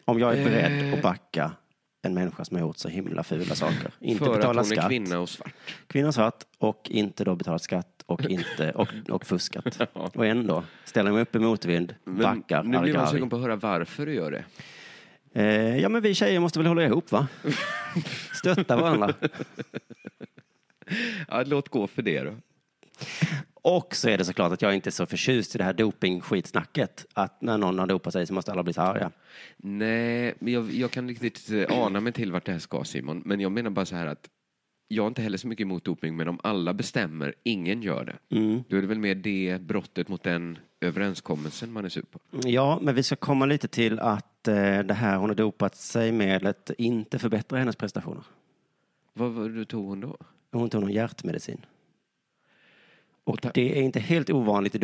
S3: Om jag är
S2: Eh.
S3: beredd att backa en människa som har gjort så himla fula saker. Inte
S2: för att
S3: betala
S2: hon
S3: skatt.
S2: är kvinna och svart.
S3: Kvinnan svart och inte då betalat skatt och, inte, och, och fuskat. Och ändå ställer jag mig upp i motvind,
S2: Men
S3: backar
S2: nu blir man
S3: Argavi.
S2: sugen på att höra varför du gör det.
S3: Eh, ja men vi tjejer måste väl hålla ihop va? Stötta varandra.
S2: Ja, låt gå för det då.
S3: Och så är det såklart att jag inte är så förtjust i det här dopingskitsnacket. Att när någon har dopat sig så måste alla bli så arga.
S2: Nej, men jag, jag kan riktigt eh, ana mig till vart det här ska Simon. Men jag menar bara så här att jag är inte heller så mycket emot doping, men om alla bestämmer, ingen gör det.
S3: Mm.
S2: Då är det väl mer det brottet mot den överenskommelsen man är sur på.
S3: Ja, men vi ska komma lite till att eh, det här hon har dopat sig med att inte förbättra hennes prestationer.
S2: Vad, var det tog hon då?
S3: Hon tog någon hjärtmedicin.
S2: Och ta-
S3: Det är inte helt ovanligt i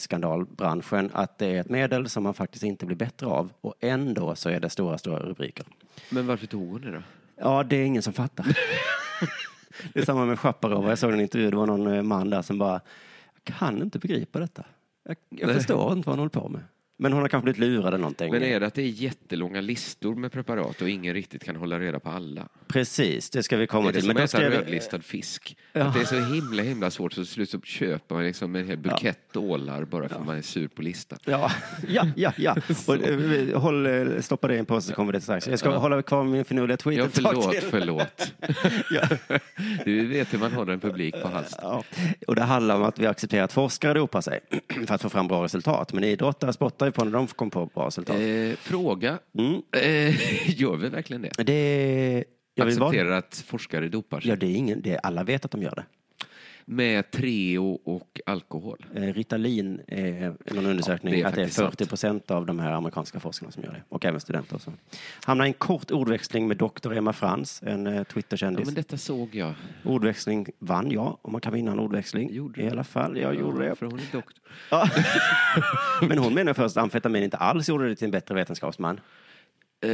S3: dopingskandalbranschen att det är ett medel som man faktiskt inte blir bättre av och ändå så är det stora, stora rubriker.
S2: Men varför tog hon det då?
S3: Ja, det är ingen som fattar. Det är samma med Chaparova. Jag såg en intervju, det var någon eh, man där som bara, jag kan inte begripa detta. Jag, jag
S2: Nej.
S3: förstår inte vad han håller på med. Men hon har kanske blivit lurad eller någonting.
S2: Men är det att det är jättelånga listor med preparat och ingen riktigt kan hålla reda på alla?
S3: Precis, det ska vi komma
S2: är det
S3: till.
S2: som
S3: då
S2: att äta
S3: skrev-
S2: rödlistad fisk?
S3: Ja.
S2: Att det är så himla himla svårt så till slut så köper man liksom en hel bukett ålar bara för att man är sur på listan.
S3: Ja, ja, ja. ja. Och, eh, håll, eh, stoppa det i en påse så kommer det strax. Jag ska
S2: Ja.
S3: hålla kvar min finurliga tweet
S2: Ja,
S3: ett tag
S2: förlåt,
S3: till.
S2: förlåt. Du vet hur man håller en publik på halsen.
S3: Ja. Och det handlar om att vi accepterar att forskare dopar sig för att få fram bra resultat. Men idrottare spottar ju på när de kom på bra resultat.
S2: Eh, fråga.
S3: Mm.
S2: Eh, gör vi verkligen det?
S3: Det... Jag vill vara...
S2: Accepterar att forskare dopar sig?
S3: Ja, det är ingen... det är... Alla vet att de gör det.
S2: Med Treo och alkohol?
S3: Eh, Ritalin, eh, någon undersökning,
S2: Ja, det är
S3: att det är
S2: faktiskt
S3: 40 procent av de här amerikanska forskarna som gör det. Och även studenter. och Så. Hamnar i en kort ordväxling med doktor Emma Frans, en eh,
S2: Ja,
S3: Twitterkändis.
S2: men detta såg jag.
S3: Ordväxling vann jag, om man kan vinna en ordväxling.
S2: Gjorde
S3: I
S2: du?
S3: alla fall, jag gjorde det.
S2: För hon är doktor.
S3: Ja. Men hon menar först att amfetamin inte alls gjorde det till en bättre vetenskapsman.
S2: Eh,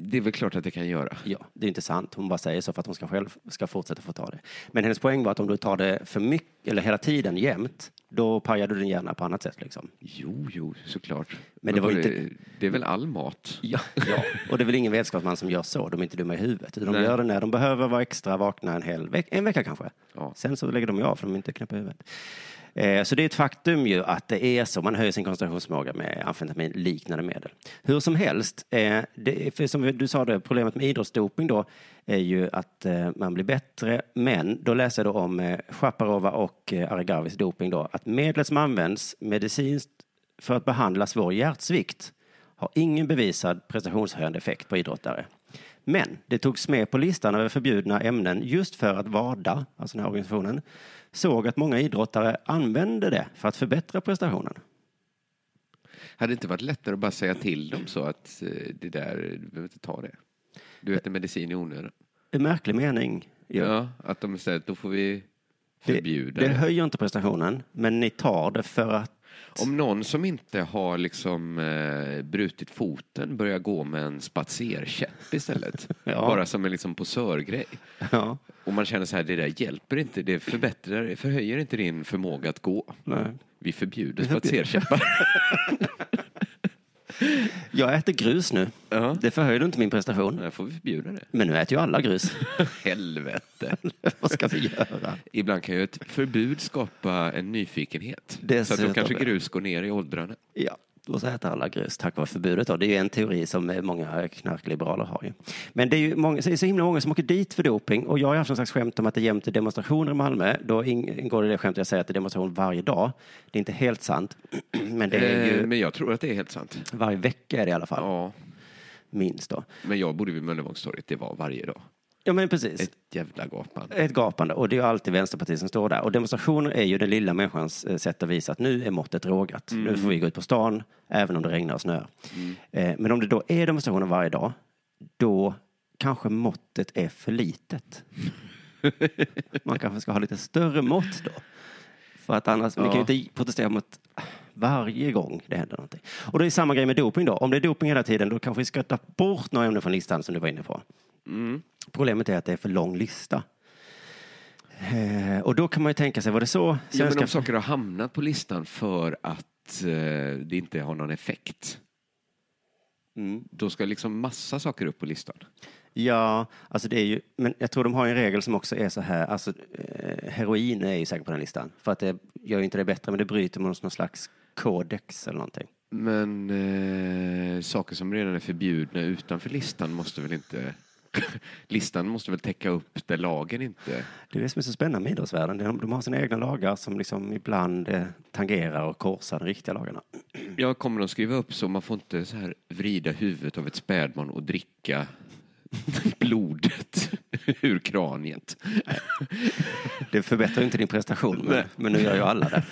S2: det är väl klart att det kan göra.
S3: Ja, det är inte sant. Hon bara säger så för att hon ska själv ska fortsätta få ta det. Men hennes poäng var att om du tar det för mycket, eller hela tiden jämt, då pajar du din hjärna på annat sätt. Liksom.
S2: Jo, jo, såklart. Men,
S3: det var
S2: både-
S3: inte-
S2: Det är väl all mat?
S3: Ja, ja. Och det är väl ingen vetenskapsman som gör så, de är inte dumma i huvudet. De
S2: Nej.
S3: gör det när de behöver vara extra vakna en hel veck en vecka kanske.
S2: Ja.
S3: Sen så lägger de ju av för de är inte knäppa i huvudet. Eh, Så det är ett faktum ju att det är så, man höjer sin koncentrationsförmåga med amfetamin liknande medel. Hur som helst, eh, det, är- för som du sa, det, problemet med idrottsdoping då är ju att eh, man blir bättre, men då läser jag då om eh, Chaparova och eh, Aragavis doping då, att medlet som används medicinskt för att behandla svår hjärtsvikt har ingen bevisad prestationshöjande effekt på idrottare. Men det togs med på listan över förbjudna ämnen just för att WADA, alltså den här organisationen, såg att många idrottare använde det för att förbättra prestationen.
S2: Hade det inte varit lättare att bara säga till dem så att eh, det där, du behöver inte ta det. Du äter medicin i onödan.
S3: En märklig mening. ju.
S2: Ja, att de säger att då får vi
S3: det,
S2: förbjuda
S3: det
S2: det.
S3: höjer inte prestationen, men ni tar det för att...
S2: Om någon som inte har liksom eh, brutit foten börjar gå med en spatserkäpp istället.
S3: Ja.
S2: Bara som en liksom posörgrej.
S3: Ja,
S2: Och man känner så här, det där hjälper inte, det förbättrar, det förhöjer inte din förmåga att gå.
S3: nej.
S2: Vi förbjuder spatserkäppar.
S3: Jag äter grus nu.
S2: Ja.
S3: Det förhöjde inte min prestation.
S2: Då får vi förbjuda det.
S3: Men nu äter ju alla grus.
S2: Helvete.
S3: Vad ska vi göra?
S2: Ibland kan ju ett förbud skapa en nyfikenhet. Så att
S3: Dessutom.
S2: då kanske grus går ner i åldrarna.
S3: Ja, och så äter alla grus tack vare förbudet. Då. Det är ju en teori som eh, många knarkliberaler har. Ju. Men det är ju många, så, är så himla många som åker dit för doping och jag har haft någon slags skämt om att det jämt är demonstrationer i Malmö. Då ingår det i det skämtet jag säger att det är demonstration varje dag. Det är inte helt sant, men det är
S2: Eh,
S3: ju
S2: Men jag tror att det är helt sant.
S3: varje vecka är det i alla fall,
S2: Ja,
S3: minst då.
S2: men jag bodde vid Möllevångstorget, det var varje dag.
S3: Ja, men precis.
S2: Ett jävla gapande.
S3: Ett gapande. Och det är ju alltid Vänsterpartiet som står där. Och demonstrationer är ju den lilla människans eh, sätt att visa att nu är måttet rågat. Nu får vi gå ut på stan, även om det regnar och snöar. Eh, Men om det då är demonstrationer varje dag, då kanske måttet är för litet. Man kanske ska ha lite större mått då. För att annars, vi kan ju inte protestera mot varje gång det händer någonting. Och det är samma grej med doping då. Om det är doping hela tiden, då kanske vi ska ta bort några ämnen från listan som du var inne på.
S2: Mm.
S3: Problemet är att det är för lång lista. Eh, och då kan man ju tänka sig, var det så
S2: Ja, men
S3: svenska...
S2: om saker har hamnat på listan för att eh, det inte har någon effekt. Då ska liksom massa saker upp på listan.
S3: Mm. Ja, alltså det är ju, men jag tror de har en regel som också är så här, alltså eh, heroin är ju säkert på den listan. För att det gör ju inte det bättre, men det bryter mot någon slags kodex eller någonting.
S2: Men eh, saker som redan är förbjudna utanför listan måste väl inte... listan måste väl täcka upp där lagen inte...
S3: Det är det som är så spännande med idrottsvärlden. De, de har sina egna lagar som liksom ibland eh, tangerar och korsar de riktiga lagarna.
S2: Ja, kommer de skriva upp så man får inte så här vrida huvudet av ett spädbarn och dricka blodet ur kraniet.
S3: Det förbättrar ju inte din prestation,
S2: Nej.
S3: men, men nu gör ju alla det.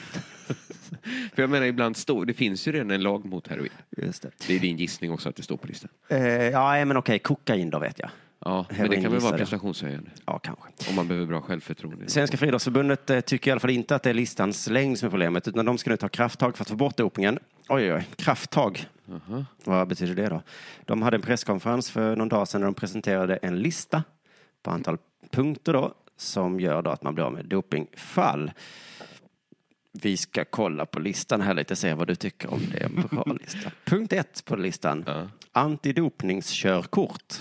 S2: För jag menar, ibland står... Det finns ju redan en lag mot heroin.
S3: Just det.
S2: Det är din gissning också att det står på listan.
S3: Eh, ja, nej, men okej, kokain då vet jag.
S2: Ja, men det
S3: Heroin
S2: kan väl
S3: gissar
S2: vara
S3: jag.
S2: prestationshöjande
S3: Ja, kanske.
S2: om man behöver bra självförtroende.
S3: Svenska friidrottsförbundet eh, tycker i alla fall inte att det är listans längd som är problemet, utan de ska nu ta krafttag för att få bort dopingen. Oj, oj, oj. Krafttag. Vad betyder det då? De hade en presskonferens för någon dag sedan där de presenterade en lista på antal punkter då som gör då att man blir av med dopingfall. Vi ska kolla på listan här lite och se vad du tycker om det. Bra lista. Punkt ett på listan. Antidopningskörkort.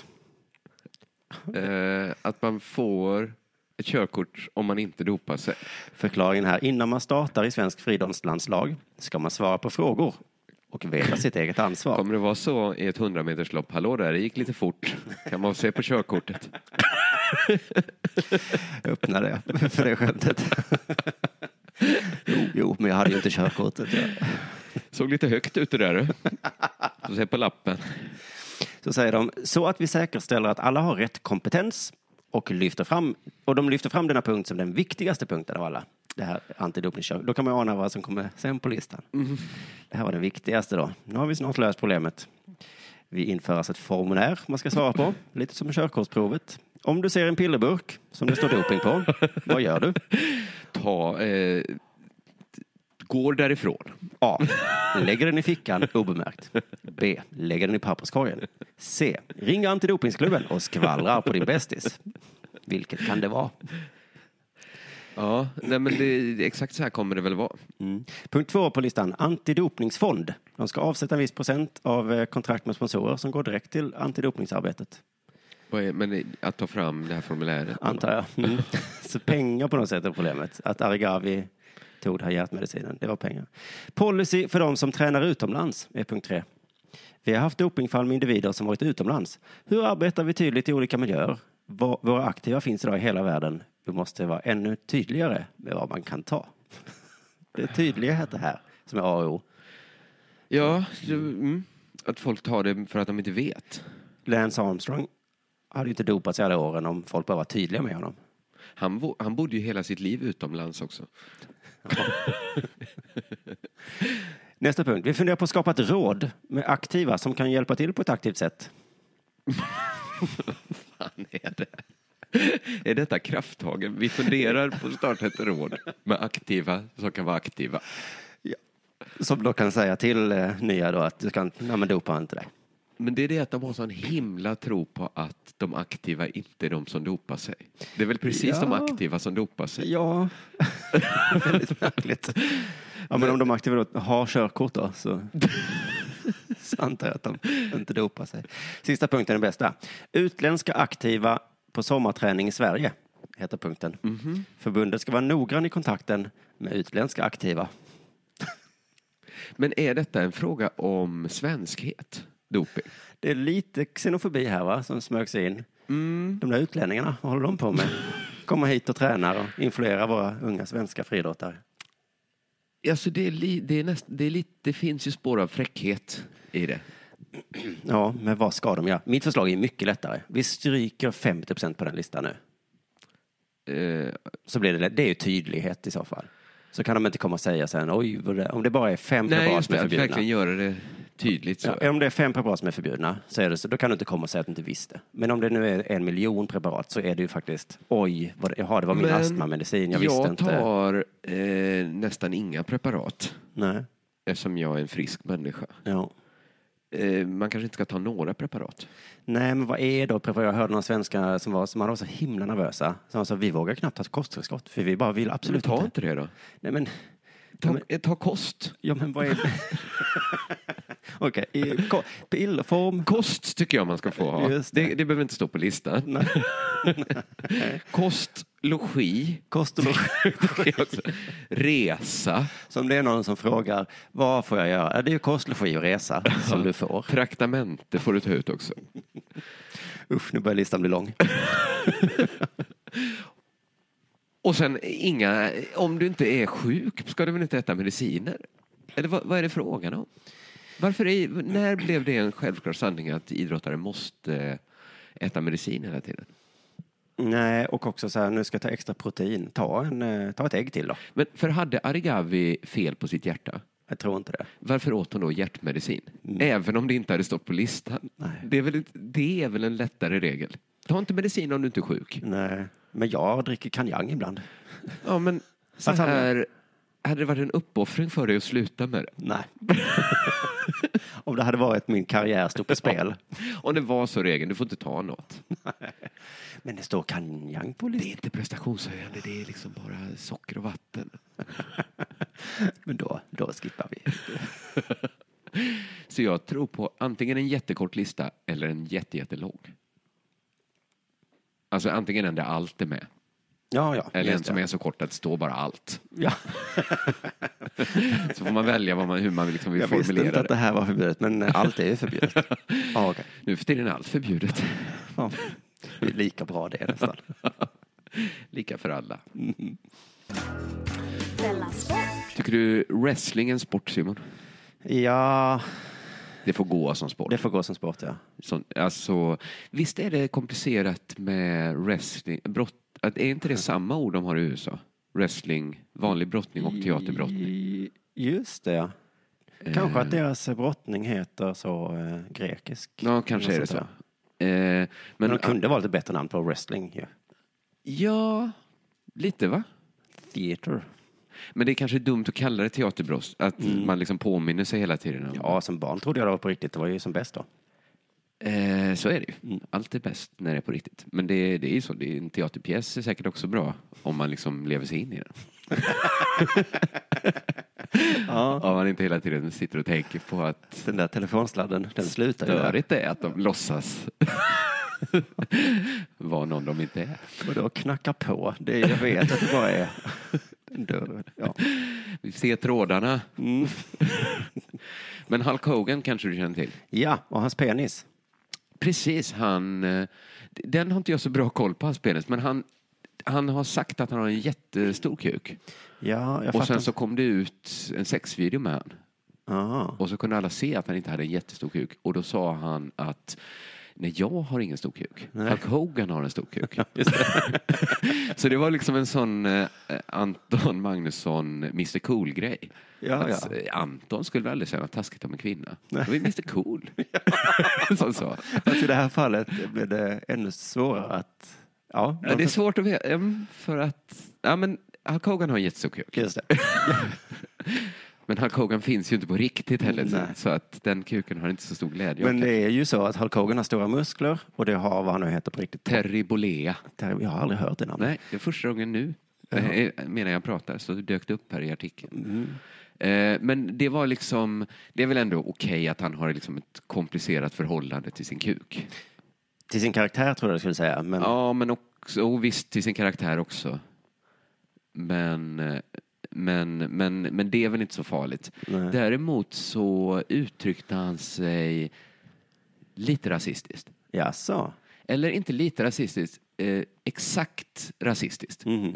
S2: Eh, att man får ett körkort om man inte dopar sig.
S3: Förklaringen här. Innan man startar i svensk friidrottslandslag ska man svara på frågor och veta sitt eget ansvar.
S2: Kommer det vara så i ett 100-meterslopp? Hallå där, det gick lite fort. Kan man se på körkortet?
S3: Jag öppnade jag för det skämtet. Jo, jo, men jag hade ju inte körkortet.
S2: Såg lite högt ut det där. du. Så se på lappen.
S3: Så säger de, så att vi säkerställer att alla har rätt kompetens och lyfter fram, och de lyfter fram denna punkt som den viktigaste punkten av alla. Det här antidopningskör. Då kan man ju ana vad som kommer sen på listan. Det här var den viktigaste då. Nu har vi snart löst problemet. Vi inför alltså ett formulär man ska svara på, lite som körkortsprovet. Om du ser en pillerburk som det står doping på, vad gör du?
S2: Ta, eh, går därifrån.
S3: A. Lägger den i fickan obemärkt. B. Lägger den i papperskorgen. C. Ringer antidopingsklubben och skvallrar på din bästis. Vilket kan det vara?
S2: Ja, nej men det, exakt så här kommer det väl vara.
S3: Punkt två på listan, antidopningsfond. De ska avsätta en viss procent av eh, kontrakt med sponsorer som går direkt till antidopningsarbetet.
S2: Vad är- Men att ta fram det här formuläret.
S3: Antar jag. Mm. Så pengar på något sätt är problemet. Att Arigavi tog den här hjärtmedicinen, det var pengar. Policy för de som tränar utomlands är punkt tre. Vi har haft dopingfall med individer som varit utomlands. Hur arbetar vi tydligt i olika miljöer? Va- Våra aktiva finns idag i hela världen. Vi måste vara ännu tydligare med vad man kan ta. Det är tydlighet det här som är A och O.
S2: Ja, det- mm. att folk tar det för att de inte vet.
S3: Lance Armstrong hade ju inte dopats i alla åren om folk bara var tydliga med honom.
S2: Han, bo, han bodde ju hela sitt liv utomlands också.
S3: Nästa punkt. Vi funderar på att skapa ett råd med aktiva som kan hjälpa till på ett aktivt sätt.
S2: Fan är det? Är detta krafttagen? Vi funderar på att starta ett råd med aktiva som kan vara aktiva.
S3: Som då kan säga till eh, nya då att du kan, nej men dopa inte dig.
S2: Men det är det att de har sån himla tro på att de aktiva inte är de som dopar sig. Det är väl precis de
S3: Ja.
S2: aktiva som dopar sig?
S3: Ja. Väldigt märkligt. Ja men om de aktiva då har körkort då så, så antar jag att de inte dopar sig. Sista punkten är den bästa. Utländska aktiva på sommarträning i Sverige heter punkten. Förbundet ska vara noggrann i kontakten med utländska aktiva.
S2: Men är detta en fråga om svenskhet? Doping?
S3: Det är lite xenofobi här va, som smög sig in.
S2: Mm.
S3: De där utlänningarna, vad håller de på med? Komma hit och träna och influera våra unga svenska friidrottare.
S2: Alltså det, är li, det, är näst, det, är lite, det finns ju spår av fräckhet i det.
S3: Ja, men vad ska de göra? Mitt förslag är mycket lättare. Vi stryker 50 på den listan nu.
S2: Eh,
S3: Så blir det, lätt. det är ju tydlighet i så fall. Så kan de inte komma och säga sen, oj, vad det, om det bara är fem
S2: nej,
S3: preparat
S2: just
S3: som är
S2: det, att
S3: förbjudna.
S2: verkligen göra det tydligt. Så.
S3: Ja, om det är fem preparat som är förbjudna, så är det så, då kan du inte komma och säga att du inte visste. Men om det nu är en miljon preparat så är det ju faktiskt, oj, vad, det- jaha, det var min
S2: Men
S3: astmamedicin, jag, visste
S2: jag
S3: inte.
S2: tar eh, nästan inga preparat
S3: Nej,
S2: eftersom jag är en frisk människa.
S3: ja.
S2: Eh, man kanske inte ska ta några preparat.
S3: Nej, men vad är då preparat? Jag hörde några svenskar som var, som hade varit så himla nervösa. Som sa, vi vågar knappt ta ett kosttillskott, för vi bara vill
S2: Men
S3: absolut
S2: ta
S3: inte.
S2: inte det då.
S3: Nej, men,
S2: Ta,
S3: Ja, men-
S2: eh, ta kost.
S3: ja, men vad är... Okej, i ko- pillform.
S2: Kost tycker jag man ska få ha.
S3: Just
S2: Det.
S3: det.
S2: Det, behöver inte stå på listan. kost, logi.
S3: Kost och logi.
S2: Resa.
S3: Så om det är någon som frågar, vad får jag göra? Ja, Det är ju kost, logi och resa som du får.
S2: Traktamente får du ta ut också.
S3: Usch, nu börjar listan bli lång.
S2: Och sen inga, om du inte är sjuk ska du väl inte äta mediciner? Eller vad, vad är det frågan om? Varför är, när blev det en självklar sanning att idrottare måste äta medicin hela tiden?
S3: Nej, och också så här, nu ska jag ta extra protein. Ta, en, eh, ta ett ägg till då.
S2: Men för hade Arigavi fel på sitt hjärta?
S3: Jag tror inte det.
S2: Varför åt hon då hjärtmedicin?
S3: Mm.
S2: Även om det inte hade stått på listan. Det är, väl, ett- det är väl en lättare regel? Ta inte medicin om du inte är sjuk.
S3: Nej, men jag dricker kanjang ibland.
S2: Ja, men så
S3: Att han-
S2: här, hade det varit en uppoffring för dig att sluta med det?
S3: Nej. Om det hade varit min karriär stod på spel.
S2: Om det var så regeln, du får inte ta något.
S3: Men det står kanjang på
S2: Det är inte prestationshöjande, det är liksom bara socker och vatten.
S3: Men då, då skippar vi.
S2: Så jag tror på antingen en jättekort lista eller en jätte, jättelång. Alltså antingen en där allt är med.
S3: Ja, ja.
S2: Eller en
S3: just
S2: som
S3: det.
S2: är så kort att det står bara allt.
S3: Ja.
S2: så får man välja vad man, hur man liksom vill
S3: Jag visste
S2: formulera
S3: inte att det
S2: det.
S3: här var förbjudet, men allt är ju förbjudet. Ja, okej.
S2: Nu för tiden är allt förbjudet.
S3: Ja. Det är lika bra det nästan.
S2: Lika för alla. Tycker du wrestling är en sport, Simon?
S3: Ja,
S2: Det får gå som sport.
S3: det får gå som sport, ja.
S2: Sån, alltså, visst är det komplicerat med wrestling? Brott, att, är inte det samma ord de har i USA? Wrestling, vanlig brottning och teaterbrottning.
S3: I- Just det, ja.
S2: Eh.
S3: Kanske att deras brottning heter så eh, grekisk.
S2: Ja, kanske är
S3: Eller
S2: det så.
S3: sånt
S2: Eh,
S3: där.
S2: men
S3: Men de kunde valt ett bättre namn på wrestling ju.
S2: Ja, lite va?
S3: Theater.
S2: Men det är kanske dumt att kalla det teaterbrott, att man liksom påminner sig hela tiden. om-
S3: Mm. Ja, som barn trodde jag det var på riktigt. Det var ju som bäst då.
S2: Eh, så är det ju. Allt är bäst när det är på riktigt. Men det, det är ju så, det är en teaterpjäs är säkert också bra om man liksom lever sig in i den. Om man inte hela tiden sitter och tänker på att
S3: Den där telefonsladden, den slutar ju där.
S2: störigt det är att de låtsas vara någon de inte är.
S3: Och då knackar på. Det är, jag vet att det bara är en dörr. Ja.
S2: Vi ser trådarna. Men Hulk Hogan kanske du känner till?
S3: ja, och hans penis.
S2: Precis, han... eh, Den har inte jag så bra koll på, hans penis, men han, han har sagt att han har en jättestor kuk.
S3: Ja, jag
S2: Och
S3: fattar.
S2: sen så kom det ut en sexvideo med han.
S3: Aha.
S2: Och så kunde alla se att han inte hade en jättestor kuk. Och då sa han att Nej, jag har ingen stor kuk. Hulk Hogan har en stor kuk. så det var liksom en sån eh, Anton Magnusson, Mr Cool-grej.
S3: Ja,
S2: Att,
S3: ja.
S2: eh, Anton skulle väl aldrig säga något taskigt om en kvinna. Det var ju Mr Cool. som sa.
S3: Alltså i det här fallet blev det ännu svårare att... Ja,
S2: Ja, det är svårt att veta. em, För att, ja, men Hulk Hogan har en jättestor kuk.
S3: Just det.
S2: Men Hulk Hogan finns ju inte på riktigt heller.
S3: Nej.
S2: Så att den kuken har inte så stor glädje. av
S3: Men det är ju så att Hulk Hogan har stora muskler och det har vad han nu heter på riktigt.
S2: Terry Bollea.
S3: Ter- Jag har aldrig hört det namnet.
S2: Nej, det är första gången nu. eh, Medan jag pratar så dök det upp här i
S3: Mm.
S2: artikeln. Eh, Men det var liksom, det är väl ändå okej att han har liksom ett komplicerat förhållande till sin kuk.
S3: Till sin karaktär tror jag du skulle säga. Men
S2: Ja, men också, och visst till sin karaktär också. Men, eh, men, men, men det är väl inte så farligt.
S3: Nej.
S2: Däremot så uttryckte han sig lite rasistiskt.
S3: jaså?
S2: Eller inte lite rasistiskt, eh, exakt rasistiskt.
S3: Mhm.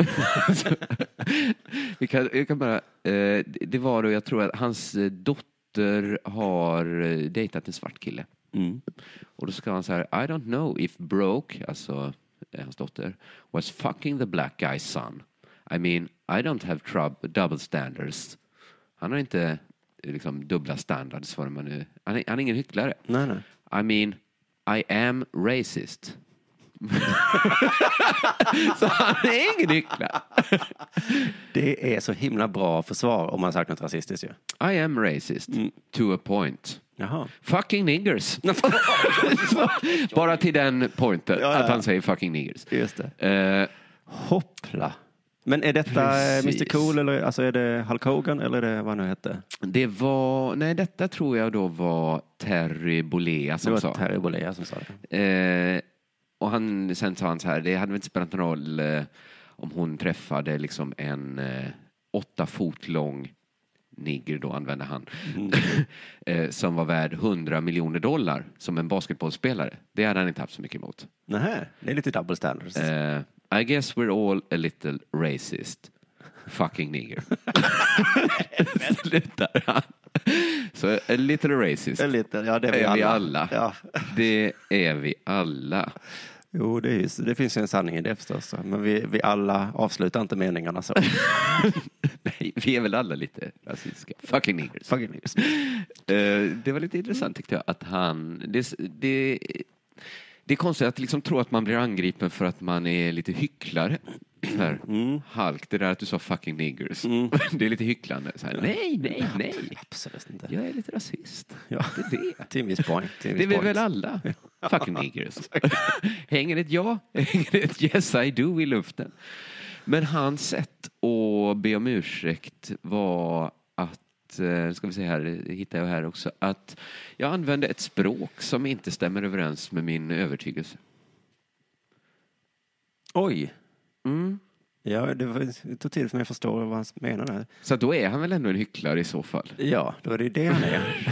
S2: vi kan, jag kan bara, eh, det- det var då, jag tror att hans eh, dotter har eh, dejtat en svart kille.
S3: Mm.
S2: Och då ska han så här, I don't know if Broke, alltså eh, hans dotter, was fucking the black guy's son. I mean, I don't have troub- double standards. Han har inte eh, liksom dubbla standards, vad man nu... Han är, han är ingen hycklare.
S3: Nej, nej.
S2: I mean, I am racist. så han är ingen hycklare.
S3: Det är så himla bra försvar om man sagt något rasistiskt ju.
S2: I am racist,
S3: Mm.
S2: to a point.
S3: Jaha.
S2: Fucking niggers. Bara till den pointen,
S3: Ja, ja,
S2: att han
S3: ja.
S2: säger fucking niggers.
S3: Just det.
S2: Eh,
S3: Hoppla. Men är detta eh,
S2: Precis.
S3: Mr Cool eller alltså är det Hulk Hogan eller är det vad han nu hette?
S2: det var, nej detta tror jag då var Terry Bollea
S3: Det
S2: som
S3: var
S2: sa.
S3: Terry Bollea som sa det.
S2: Eh, och han, sen sa han så här, det hade väl inte spelat någon roll eh, om hon träffade liksom en eh, åtta fot lång nigger då använde han,
S3: Mm.
S2: eh, som var värd 100 miljoner dollar som en basketbollspelare. Det hade han inte haft så mycket emot.
S3: Nähä, det är lite double standards.
S2: Eh, I guess we're all a little racist. Fucking nigger. Slutar han. Så a little racist.
S3: Det är lite, ja det är vi
S2: Är
S3: alla.
S2: vi alla?
S3: Ja.
S2: Det är vi alla.
S3: Jo, det, är ju, det finns ju en sanning i det förstås. Men vi, vi alla avslutar inte meningarna så.
S2: Nej, vi är väl alla lite rasistiska. Fucking niggers.
S3: Fucking niggers.
S2: Eh, det var lite intressant tyckte jag att han... Det, det, det är konstigt att liksom tro att man blir angripen för att man är lite hycklare. så här,
S3: Mm.
S2: Hulk, det där att du sa fucking niggers. Det är lite hycklande. Så här, nej, nej, nej.
S3: Absolut inte.
S2: Jag är lite rasist.
S3: Ja.
S2: Det är det.
S3: Till en viss poäng. Till en viss
S2: Det är vi
S3: point.
S2: väl alla? Fucking niggers. hänger det ett ja, hänger det ett yes I do i luften? Men hans sätt att be om ursäkt var att, eh, ska vi se här, det hittar jag här också, att jag använde ett språk som inte stämmer överens med min övertygelse.
S3: Oj. Ja, det, var, det tog tid för mig att förstå vad han menade. här.
S2: Så att då är han väl ändå en hycklare i så fall?
S3: Ja, då är det ju det han är.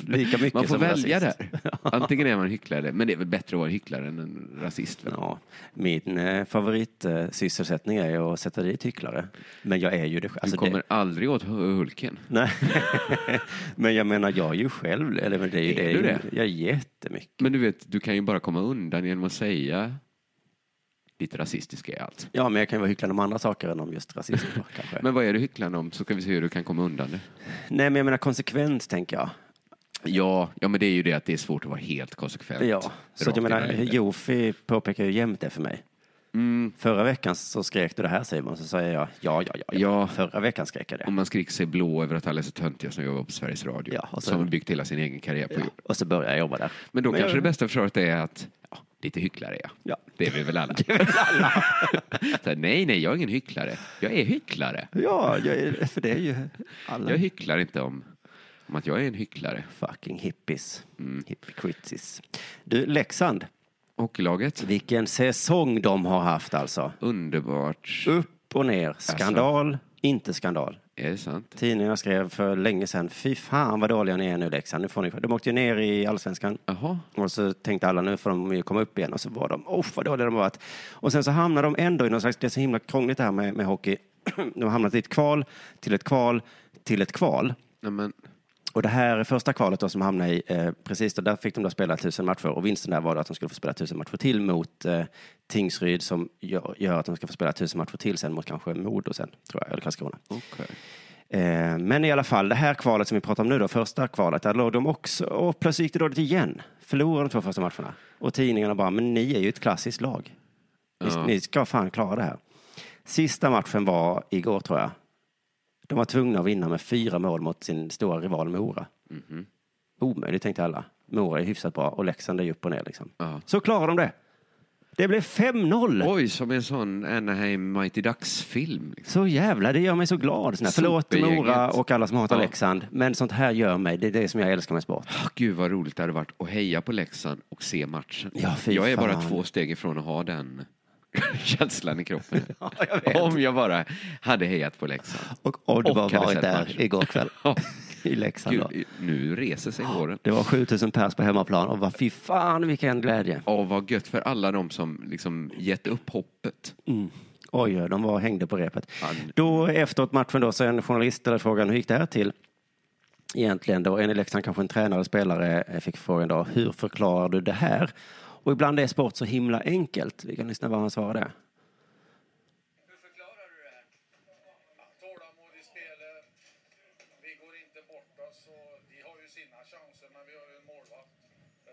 S3: Lika mycket
S2: Man får
S3: som
S2: välja
S3: rasist.
S2: där. Antingen är man en hycklare, men det är väl bättre att vara en hycklare än en rasist? Väl?
S3: Ja, min eh, favoritsysselsättning är att sätta dit hycklare. Men jag är ju det
S2: du
S3: alltså
S2: kommer
S3: det,
S2: aldrig åt hu- Hulken.
S3: Nej. Men jag menar, jag är ju själv, eller men det är ju
S2: Är
S3: det.
S2: du det?
S3: Jag är jättemycket.
S2: Men du vet, du kan ju bara komma undan genom att säga lite rasistiska är allt.
S3: Ja, men jag kan ju vara hycklande om andra saker än om just rasism då, kanske.
S2: Men vad är du hycklande om så ska vi se hur du kan komma undan det.
S3: Nej, men jag menar konsekvent, tänker jag.
S2: Ja, ja men det är ju det att det är svårt att vara helt konsekvent.
S3: Ja, så att
S2: Rakt
S3: jag menar,
S2: hela livet.
S3: Jofi påpekar ju jämt det för mig.
S2: Mm,
S3: Förra veckan så skrek du det här Simon, så säger jag ja, ja, ja, ja.
S2: Ja. Mm.
S3: Förra veckan skrek jag det.
S2: om man skriker sig blå över att alla är så töntiga som jobbar på Sveriges Radio.
S3: Ja, och så-
S2: som har byggt hela sin egen karriär på
S3: Ja.
S2: jord.
S3: Och så börjar jag jobba där.
S2: Men då
S3: Men jag-
S2: kanske det bästa försvaret är att ja, lite hycklare är jag.
S3: Ja.
S2: Det är vi väl alla. så här, nej, nej, jag är ingen hycklare. Jag är hycklare.
S3: Ja, jag är, för det är ju alla
S2: Jag hycklar inte om, om att jag är en hycklare.
S3: fucking hippies. Hypocritis. Du, Leksand,
S2: Hockeylaget,
S3: vilken säsong de har haft alltså.
S2: underbart.
S3: Upp och ner, skandal, inte skandal.
S2: Är det sant?
S3: Tidningarna skrev för länge sedan, fy fan vad dåliga ni är nu Leksand, nu får ni De åkte ju ner i allsvenskan.
S2: Jaha.
S3: Och så tänkte alla nu får de ju komma upp igen och så var de, oh vad dåliga de har varit. Och sen så hamnade de ändå i någon slags, det är så himla krångligt det här med, med hockey. De har hamnat i ett kval, till ett kval, till ett kval.
S2: Nej, men,
S3: Och det här första kvalet då som hamnade i, eh, precis då, där fick de då spela tusen matcher och vinsten där var då att de skulle få spela tusen matcher till mot eh, Tingsryd som gör, gör att de ska få spela tusen matcher till sen mot kanske Modo sen, tror jag, eller Karlskrona.
S2: okej.
S3: Eh, men i alla fall, det här kvalet som vi pratar om nu då, första kvalet, där låg de också, och plötsligt gick det dåligt igen. Förlorade de två första matcherna. Och tidningarna bara, men ni är ju ett klassiskt lag. Ni,
S2: Ja.
S3: ni ska fan klara det här. Sista matchen var igår tror jag. De var tvungna att vinna med fyra mål mot sin stora rival Mora.
S2: Mhm.
S3: Omöjligt tänkte alla. Mora är hyfsat bra och Leksand är upp och ner liksom.
S2: Ja.
S3: Så klarar de det. Det blev 5-0.
S2: Oj, som en sån Anaheim Mighty Ducks-film. Liksom.
S3: Så jävla, det gör mig så glad. Sån här. Förlåt
S2: Supergänget.
S3: Mora och alla som hatar
S2: Ja.
S3: Leksand, men sånt här gör mig. Det är det som jag älskar med sport.
S2: Ah, Gud vad roligt det hade varit att heja på Leksand och se matchen.
S3: Ja, fy
S2: jag är bara
S3: fan.
S2: två steg ifrån att ha den känslan i kroppen. Om jag bara hade hejat på Leksand.
S3: Och, och du
S2: Och
S3: var
S2: hade
S3: varit
S2: sett
S3: där
S2: matchen.
S3: igår kväll
S2: Ja.
S3: i Leksand. Då.
S2: Gud, nu reser sig håren.
S3: Det var 7000 pers på hemmaplan och vad fy fan vilken glädje.
S2: Åh, vad gött för alla de som liksom gett upp hoppet.
S3: Mm. Oj, de var och hängde på repet.
S2: Ja, nu-
S3: Då efteråt matchen då så en journalist ställde frågan hur gick det här till? Egentligen då, en i Leksand kanske en tränare eller spelare eh, fick frågan då, hur förklarar du det här? Och ibland är sport så himla enkelt. Vi kan lyssna vad han svarade.
S9: Hur förklarar du det här? Tålamodig spelare. Vi går inte bort oss. Och de har ju sina chanser, men vi har ju en målvakt. Eh,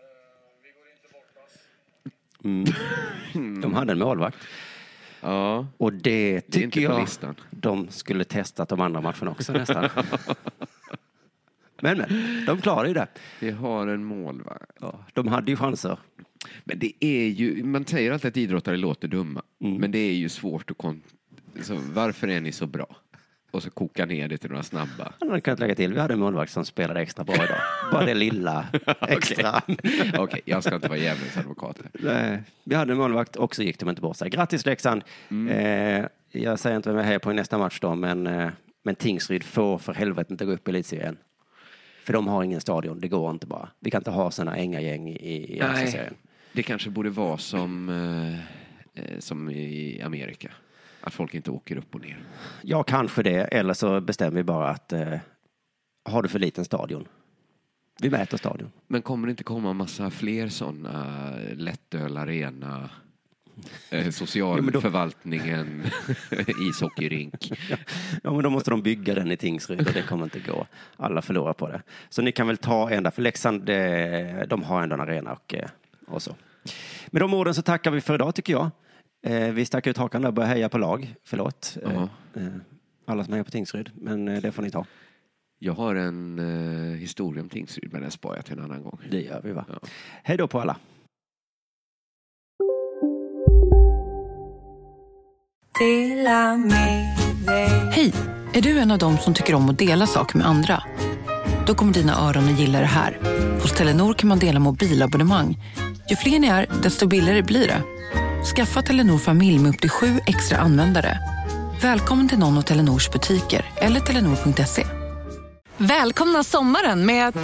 S9: vi går inte bort oss.
S3: Mm. De hade en målvakt.
S2: Ja.
S3: Och det
S2: Det är
S3: tycker
S2: inte på
S3: jag
S2: listan.
S3: de skulle testat de andra matcherna också nästan. men, men, de klarar ju det.
S2: Vi har en målvakt.
S3: Ja, de hade ju chanser.
S2: Men det är ju, man säger alltid att idrottare låter dumma, men det är ju svårt att kon- så Varför är ni så bra? Och så koka ner det till några snabba.
S3: Man hade kunnat lägga till, vi hade en målvakt som spelade extra bra idag. Bara det lilla extra.
S2: Okej, jag ska inte vara djävulens advokat här.
S3: Nej, vi hade en målvakt och så gick de inte bort sig. Grattis Leksand!
S2: Mm.
S3: Eh, jag säger inte vem jag hejar på i nästa match då, men, eh, men Tingsryd får för helvete inte gå upp i elitserien. För de har ingen stadion, det går inte bara. Vi kan inte ha sådana ängagäng i, i serien.
S2: Det kanske borde vara som, eh, eh, som i Amerika. Att folk inte åker upp och ner.
S3: Ja, kanske det. Eller så bestämmer vi bara att eh, har du för liten stadion? Vi mäter stadion.
S2: Men kommer det inte komma massa fler sådana lättöl arena, eh, socialförvaltningen, ishockeyrink?
S3: Ja, men då måste de bygga den i Tingsryd och det kommer inte gå. Alla förlorar på det. Så ni kan väl ta ända, för Leksand, eh, de har ändå en arena och, eh, och så. Med de orden så tackar vi för idag tycker jag. Eh, vi stack ut hakan där och började heja på lag. Förlåt. Eh, eh, alla som hejar på Tingsryd, men eh, det får ni ta.
S2: Jag har en eh, historia om Tingsryd, men den sparar jag till en annan gång.
S3: Det gör vi, va? Hej då på alla.
S10: Hej! Är du en av dem som tycker om att dela saker med andra? Då kommer dina öron att gilla det här. Hos Telenor kan man dela mobilabonnemang. Ju fler ni är, desto billigare blir det. Skaffa Telenor familj med upp till sju extra användare. Välkommen till någon av Telenors butiker eller telenor.se.
S6: Välkomna sommaren med att...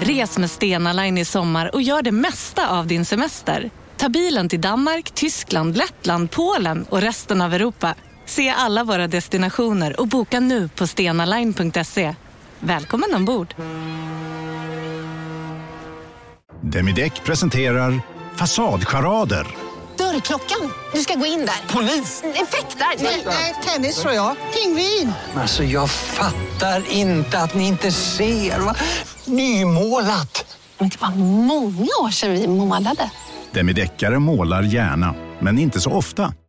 S6: Res med Stena Line i sommar och gör det mesta av din semester. Ta bilen till Danmark, Tyskland, Lettland, Polen och resten av Europa. Se alla våra destinationer och boka nu på stenaline.se. Välkommen ombord!
S7: Demideck presenterar Fasadcharader.
S4: Dörrklockan. Du ska gå in där. Polis? Effektar? Nej, nej, tennis tror jag. Pingvin.
S11: Alltså jag fattar inte att ni inte ser. Va? Nymålat.
S4: Men det var många år sedan vi målade.
S7: Demideckare målar gärna, men inte så ofta.